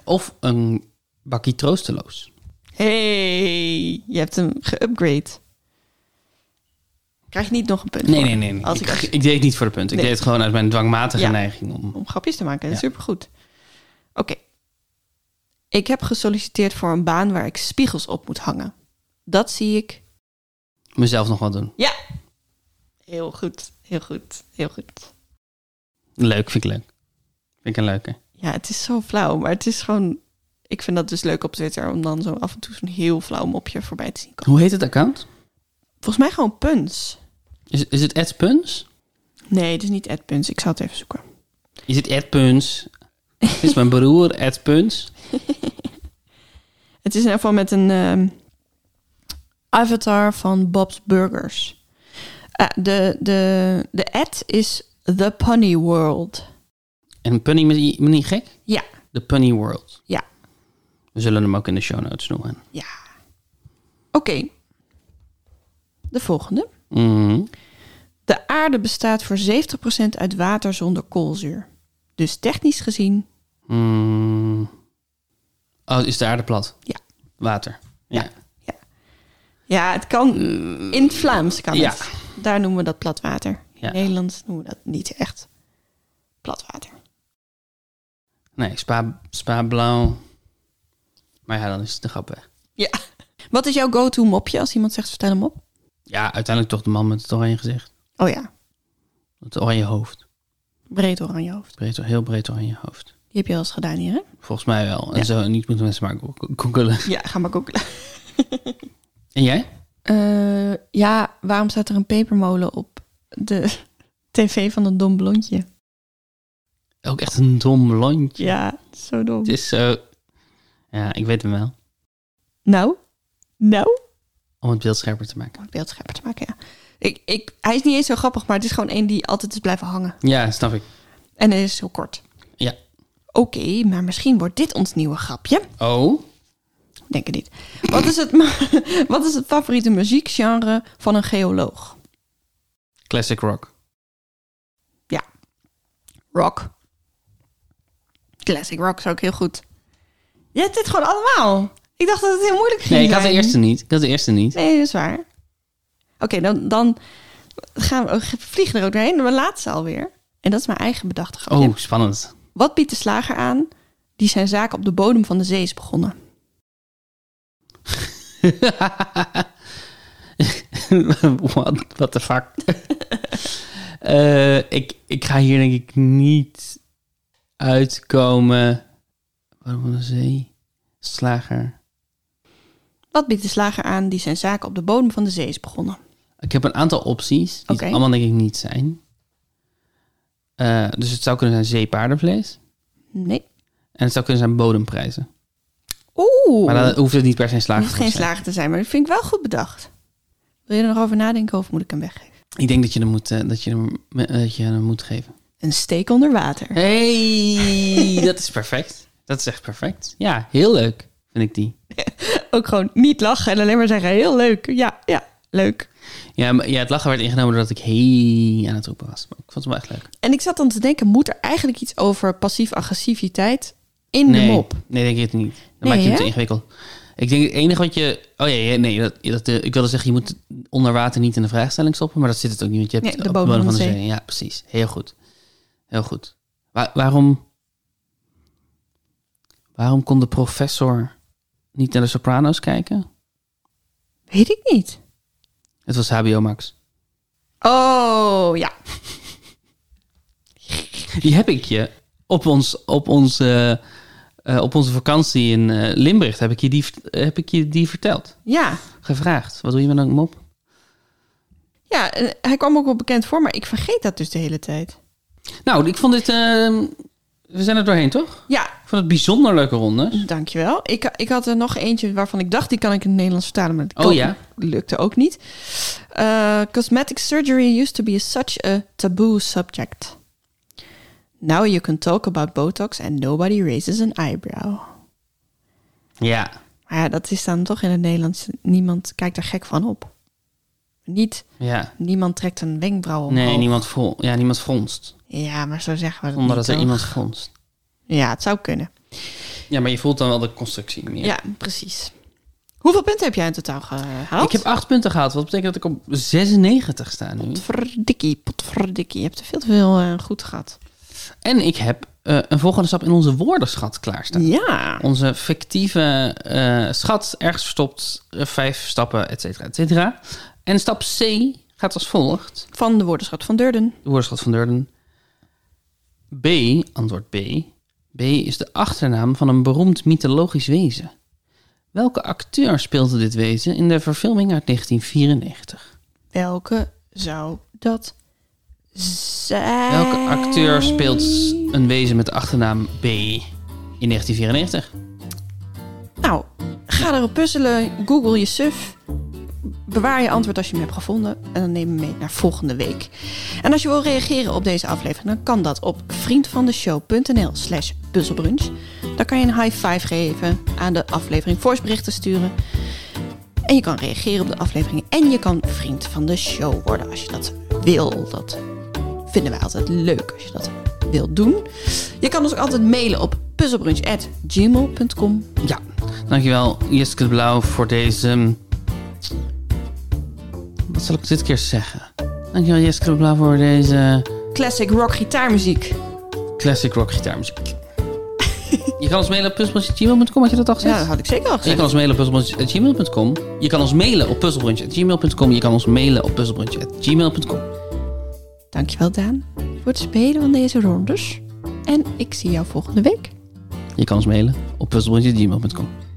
[SPEAKER 1] Of een bakje troosteloos?
[SPEAKER 2] Hey, je hebt hem geüpgrade. Krijg je niet nog een punt?
[SPEAKER 1] Nee,
[SPEAKER 2] voor?
[SPEAKER 1] nee, nee. nee.
[SPEAKER 2] Als
[SPEAKER 1] Ik,
[SPEAKER 2] ik, als je-
[SPEAKER 1] ik deed het niet voor de punt. Ik
[SPEAKER 2] Nee.
[SPEAKER 1] deed het gewoon uit mijn dwangmatige
[SPEAKER 2] Ja.
[SPEAKER 1] neiging om...
[SPEAKER 2] om grapjes te maken,
[SPEAKER 1] Ja.
[SPEAKER 2] supergoed. Oké. Ik heb gesolliciteerd voor een baan waar ik spiegels op moet hangen. Dat zie ik.
[SPEAKER 1] mezelf nog wat doen.
[SPEAKER 2] Ja. Heel goed, heel goed, heel goed.
[SPEAKER 1] Leuk, vind ik leuk. Vind ik een leuke.
[SPEAKER 2] Ja, het is zo flauw, maar het is gewoon... Ik vind dat dus leuk op Twitter om dan zo af en toe zo'n heel flauw mopje voorbij te zien komen.
[SPEAKER 1] Hoe heet het account?
[SPEAKER 2] Volgens mij gewoon puns.
[SPEAKER 1] Is, is het Ed Puns?
[SPEAKER 2] Nee, het is niet Ed Puns. Ik zal het even zoeken.
[SPEAKER 1] Is het Ed
[SPEAKER 2] <laughs>
[SPEAKER 1] Puns? Is mijn broer Ed Puns?
[SPEAKER 2] Het is in ieder geval met een ehm, avatar van Bob's Burgers. Eh, de, de, de ad is The Punny World.
[SPEAKER 1] En Punny met I- met niet gek?
[SPEAKER 2] Ja.
[SPEAKER 1] The Punny World.
[SPEAKER 2] Ja.
[SPEAKER 1] We zullen hem ook in de show notes noemen.
[SPEAKER 2] Ja. Oké. De volgende.
[SPEAKER 1] Mhm.
[SPEAKER 2] De aarde bestaat voor 70% uit water zonder koolzuur. Dus technisch gezien,
[SPEAKER 1] Mm. Oh, is de aarde plat?
[SPEAKER 2] Ja.
[SPEAKER 1] Water?
[SPEAKER 2] Ja. ja, het kan eh, in het Vlaams kan
[SPEAKER 1] Ja.
[SPEAKER 2] het. Daar noemen we dat plat water. In
[SPEAKER 1] Ja.
[SPEAKER 2] Nederland noemen we dat niet echt plat water.
[SPEAKER 1] Nee, spa, spa blauw. Maar ja, dan is de grap weg.
[SPEAKER 2] Wat is jouw go-to mopje als iemand zegt vertel hem op?
[SPEAKER 1] Ja, uiteindelijk toch de man met het oranje gezicht.
[SPEAKER 2] Oh ja,
[SPEAKER 1] Het oranje hoofd.
[SPEAKER 2] breed oranje hoofd.
[SPEAKER 1] Breed, heel breed oranje hoofd.
[SPEAKER 2] Die heb je wel eens gedaan hier, hè?
[SPEAKER 1] Volgens mij wel. En
[SPEAKER 2] Ja.
[SPEAKER 1] zo niet moeten mensen maar go- googelen.
[SPEAKER 2] Ja, ga maar googlen.
[SPEAKER 1] En jij?
[SPEAKER 2] Eh, ja, waarom staat er een pepermolen op de <laughs> tv van een dom blondje?
[SPEAKER 1] Ook echt een dom landje.
[SPEAKER 2] Ja, Zo dom.
[SPEAKER 1] Het is zo... Ja, ik weet hem wel.
[SPEAKER 2] Nou, nou.
[SPEAKER 1] Om het beeld scherper te maken.
[SPEAKER 2] Om het beeld scherper te maken, ja. Ik, ik, hij is niet eens zo grappig, maar het is gewoon één die altijd is blijven hangen.
[SPEAKER 1] Ja, snap ik.
[SPEAKER 2] En hij is heel kort.
[SPEAKER 1] Ja.
[SPEAKER 2] Oké, maar misschien wordt dit ons nieuwe grapje.
[SPEAKER 1] Oh?
[SPEAKER 2] Denk het niet. Wat is het, ma- <laughs> wat is het favoriete muziekgenre van een geoloog?
[SPEAKER 1] Classic rock.
[SPEAKER 2] Rock. Classic rock zou ik heel goed. Je hebt dit gewoon allemaal. Ik dacht dat het heel moeilijk ging
[SPEAKER 1] Nee, ik had de
[SPEAKER 2] zijn.
[SPEAKER 1] eerste niet. Ik had de eerste niet.
[SPEAKER 2] Nee, dat is waar. Oké, dan, dan gaan we, we vliegen er ook doorheen. De laatste alweer. En dat is mijn eigen bedachte grapje.
[SPEAKER 1] Oh, spannend.
[SPEAKER 2] Wat biedt de slager aan die zijn zaak op de bodem van de zee is begonnen?
[SPEAKER 1] <laughs> What, what the fuck? <laughs> Eh, ik, ik ga hier denk ik niet uitkomen. Waarom van de zee? Slager.
[SPEAKER 2] Wat biedt de slager aan die zijn zaak op de bodem van de zee is begonnen?
[SPEAKER 1] Ik heb een aantal opties. Die het
[SPEAKER 2] Oké.
[SPEAKER 1] allemaal denk ik niet zijn. Eh, dus het zou kunnen zijn zeepaardenvlees.
[SPEAKER 2] Nee.
[SPEAKER 1] En het zou kunnen zijn bodemprijzen.
[SPEAKER 2] Oeh.
[SPEAKER 1] Maar dan hoeft het niet per se een
[SPEAKER 2] het
[SPEAKER 1] slager
[SPEAKER 2] hoeft
[SPEAKER 1] te
[SPEAKER 2] geen
[SPEAKER 1] zijn.
[SPEAKER 2] slager te zijn, maar dat vind ik wel goed bedacht. Wil je er nog over nadenken of moet ik hem weggeven?
[SPEAKER 1] Ik denk dat je hem moet, eh, dat je hem, eh, dat je hem moet geven.
[SPEAKER 2] Een steek onder water.
[SPEAKER 1] Hey, dat is perfect. Dat is echt perfect. Ja, heel leuk vind ik die.
[SPEAKER 2] Ook gewoon niet lachen en alleen maar zeggen, heel leuk. Ja, ja, leuk.
[SPEAKER 1] Ja, maar, ja, het lachen werd ingenomen doordat ik hey aan het roepen was. Maar ik vond het wel echt leuk.
[SPEAKER 2] En ik zat dan te denken, moet er eigenlijk iets over passief-agressiviteit in
[SPEAKER 1] nee,
[SPEAKER 2] de mop?
[SPEAKER 1] nee, denk ik het niet. Dan
[SPEAKER 2] Nee,
[SPEAKER 1] maak je het
[SPEAKER 2] hè?
[SPEAKER 1] te ingewikkeld. Ik denk het enige wat je... Oh ja, ja, nee, dat, dat, eh, ik wilde zeggen, je moet onder water niet in de vraagstelling stoppen. Maar dat zit het ook niet, want je hebt
[SPEAKER 2] Nee, de
[SPEAKER 1] op
[SPEAKER 2] bodem van de zee.
[SPEAKER 1] Ja, precies. Heel goed. Heel goed. Wa- waarom... Waarom kon de professor niet naar de Soprano's kijken?
[SPEAKER 2] Weet ik niet.
[SPEAKER 1] Het was HBO Max.
[SPEAKER 2] Oh, ja.
[SPEAKER 1] Die heb ik je op, ons, op, ons, eh, eh, op onze vakantie in eh Limburg. Heb ik, je die, heb ik je die verteld?
[SPEAKER 2] Ja.
[SPEAKER 1] Gevraagd. Wat doe je met een mop?
[SPEAKER 2] Ja, en eh, hij kwam ook wel bekend voor, maar ik vergeet dat dus de hele tijd.
[SPEAKER 1] Nou, ik vond dit. eh, we zijn er doorheen, toch?
[SPEAKER 2] Ja,
[SPEAKER 1] Ik vond het bijzonder leuke ronde.
[SPEAKER 2] dankjewel. Ik, ik had er nog eentje waarvan ik dacht, die kan ik in het Nederlands vertalen, maar dat
[SPEAKER 1] Oh
[SPEAKER 2] kon-
[SPEAKER 1] ja.
[SPEAKER 2] lukte ook niet. Eh, cosmetic surgery used to be such a taboo subject. Now you can talk about botox and nobody raises an eyebrow.
[SPEAKER 1] Ja.
[SPEAKER 2] Maar ja, dat is dan toch in het Nederlands. Niemand kijkt er gek van op. Niet,
[SPEAKER 1] Ja.
[SPEAKER 2] niemand trekt een wenkbrauw omhoog.
[SPEAKER 1] Nee, niemand, vol, ja, niemand fronst.
[SPEAKER 2] Ja, maar zo zeggen we dat
[SPEAKER 1] Zonder
[SPEAKER 2] niet,
[SPEAKER 1] dat er
[SPEAKER 2] toch?
[SPEAKER 1] iemand fronst.
[SPEAKER 2] Ja, het zou kunnen.
[SPEAKER 1] Ja, maar je voelt dan wel de constructie meer.
[SPEAKER 2] Ja. precies. Hoeveel punten heb jij in totaal gehaald?
[SPEAKER 1] Ik heb acht punten gehaald. Wat betekent dat ik op 96 sta nu.
[SPEAKER 2] Potverdikkie, potverdikkie. Je hebt er veel te veel eh, goed gehad.
[SPEAKER 1] En ik heb eh, een volgende stap in onze woordenschat klaarstaan.
[SPEAKER 2] Ja.
[SPEAKER 1] onze fictieve eh, schat ergens verstopt, eh, vijf stappen, et cetera, et cetera. En stap C gaat als volgt.
[SPEAKER 2] Van de woordenschat van Durden.
[SPEAKER 1] De woordenschat van Durden. B, antwoord B. B is de achternaam van een beroemd mythologisch wezen. Welke acteur speelde dit wezen in de verfilming uit 1994?
[SPEAKER 2] Welke zou dat zijn?
[SPEAKER 1] Welke acteur speelt s- een wezen met de achternaam B in 1994?
[SPEAKER 2] Nou, ga erop puzzelen. Google je suf. Bewaar je antwoord als je hem hebt gevonden. En dan neem hem mee naar volgende week. En als je wil reageren op deze aflevering, dan kan dat op vriendvandeshow.nl slash puzzelbrunch. Daar kan je een high five geven aan de aflevering voiceberichten sturen. En je kan reageren op de afleveringen. En je kan vriend van de show worden als je dat wil. Dat vinden wij altijd leuk als je dat wilt doen. Je kan ons ook altijd mailen op puzzelbrunch.gmail.com.
[SPEAKER 1] Ja, dankjewel Jiske de Blauw voor deze... hm, Wat zal ik dit keer zeggen? Dankjewel Jiske de Blauw voor deze
[SPEAKER 2] classic rock gitaarmuziek.
[SPEAKER 1] classic rock
[SPEAKER 2] <laughs>
[SPEAKER 1] gitaarmuziek. Je kan ons mailen op puzzelbrunch.gmail.com, had je dat al gezegd?
[SPEAKER 2] Ja, dat had Dus ik zeker al
[SPEAKER 1] En je kan ons
[SPEAKER 2] gezegd.
[SPEAKER 1] mailen op puzzelbrunch.gmail.com. Je kan ons mailen op puzzelbrunch.gmail.com. Je kan ons mailen op puzzelbrunch.gmail.com.
[SPEAKER 2] Dankjewel Daan voor het spelen van deze rondes. En ik zie jou volgende week.
[SPEAKER 1] Je kan ons mailen op puzzelbrunch.gmail.com.